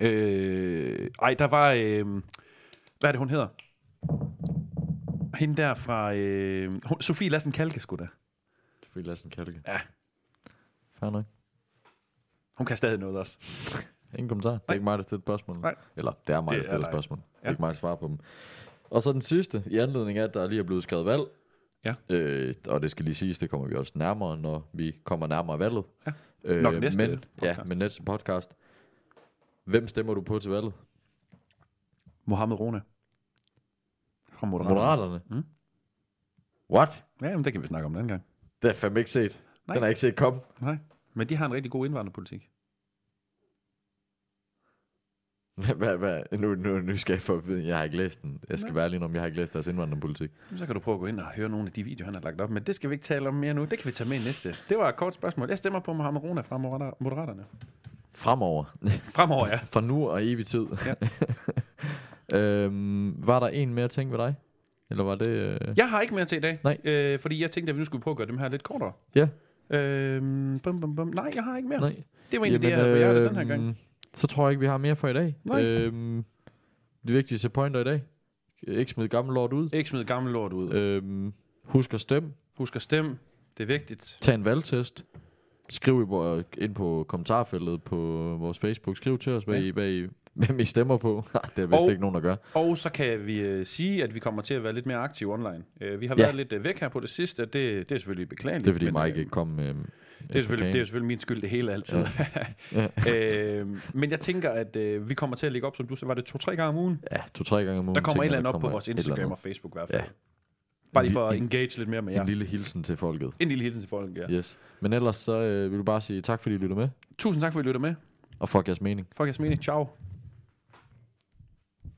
S3: øh, ej, der var... Øh, hvad er det, hun hedder? Hende der fra... Øh, hun- Sofie Lassen Kalke, sgu da.
S1: Sofie Lassen Kalke.
S3: Ja.
S1: Fair nok.
S3: Hun kan stadig noget også.
S1: Ingen kommentar. Det er ikke mig, der stiller spørgsmål.
S3: Nej.
S1: Eller, det er mig,
S3: Det
S1: der
S3: er
S1: stiller
S3: dig.
S1: spørgsmål. Det er
S3: Ja.
S1: ikke mig, der svarer på dem. Og så den sidste, i anledning af, at der lige er blevet skrevet valg.
S3: Ja.
S1: Øh, og det skal lige siges, det kommer vi også nærmere, når vi kommer nærmere valget.
S3: Ja.
S1: Øh,
S3: Nok næste
S1: men,
S3: podcast.
S1: Ja, men næste podcast. Hvem stemmer du på til valget?
S3: Mohammed Rone. Fra Moderaterne.
S1: Moderaterne.
S3: Mm.
S1: What?
S3: Ja, jamen, det kan vi snakke om den gang.
S1: Det har jeg fandme ikke set.
S3: Nej.
S1: Den har jeg ikke set komme.
S3: Nej. Men de har en rigtig god indvandrerpolitik.
S1: Hvad, hvad, hvad? Nu, nu, nu skal jeg få at vide, jeg har ikke læst den. Jeg skal være lige om, jeg har ikke læst deres indvandrerpolitik.
S3: Jamen, Så kan du prøve at gå ind og høre nogle af de videoer, han har lagt op. Men det skal vi ikke tale om mere nu. Det kan vi tage med i næste. Det var et kort spørgsmål. Jeg stemmer på Mohamed Rona fra Moderata- Moderaterne.
S1: Fremover.
S3: Fremover, ja.
S1: Fra nu og evig tid. Ja. øhm, var der en mere ting ved dig? Eller var det... Øh...
S3: Jeg har ikke mere til i dag.
S1: Nej.
S3: Øh, fordi jeg tænkte, at vi nu skulle prøve at gøre dem her lidt kortere.
S1: Ja.
S3: Øhm, bum, bum, bum. Nej, jeg har ikke mere.
S1: Nej.
S3: Det var egentlig Jamen, det, jeg havde på hjertet den her gang.
S1: øhm, Så tror jeg ikke, vi har mere for i dag.
S3: Nej.
S1: Øhm, de vigtigste pointer i dag. Ikke smid gammel lort ud.
S3: Ikke smid gammel lort ud.
S1: Øhm, husk at stemme.
S3: Husk at stemme. Det er vigtigt.
S1: Tag en valgtest. Skriv i, vor- ind på kommentarfeltet på vores Facebook. Skriv til os, hvad,
S3: Ja.
S1: I, hvad I, hvem I stemmer på. det er vist
S3: Og-
S1: ikke nogen, der gør.
S3: Og så kan vi øh, sige, at vi kommer til at være lidt mere aktive online. Øh, vi har
S1: Ja.
S3: været lidt øh, væk her på det sidste, og det, det er selvfølgelig beklageligt.
S1: Det er fordi
S3: men, øh,
S1: Mike ikke kom med øhm,
S3: Det er, selvfølgelig, det er selvfølgelig min skyld, det hele altid.
S1: Ja.
S3: Ja. øh, men jeg tænker, at øh, vi kommer til at lægge op, som du sagde, var det to-tre gange om ugen?
S1: Ja, to-tre gange om ugen.
S3: Der kommer et
S1: tænker jeg,
S3: eller andet op på
S1: kommer
S3: vores
S1: et eller
S3: Instagram
S1: andet.
S3: og Facebook i hvert
S1: Ja.
S3: fald. Bare lige for at
S1: En-
S3: engage lidt mere med
S1: En
S3: jer.
S1: lille hilsen til folket.
S3: En lille hilsen til folk, ja.
S1: Yes. Men ellers så øh, vil du bare sige tak, fordi I lytter med.
S3: Tusind tak, for at I lytter med.
S1: Og fuck jeres mening.
S3: Fuck jeres mening. Ciao.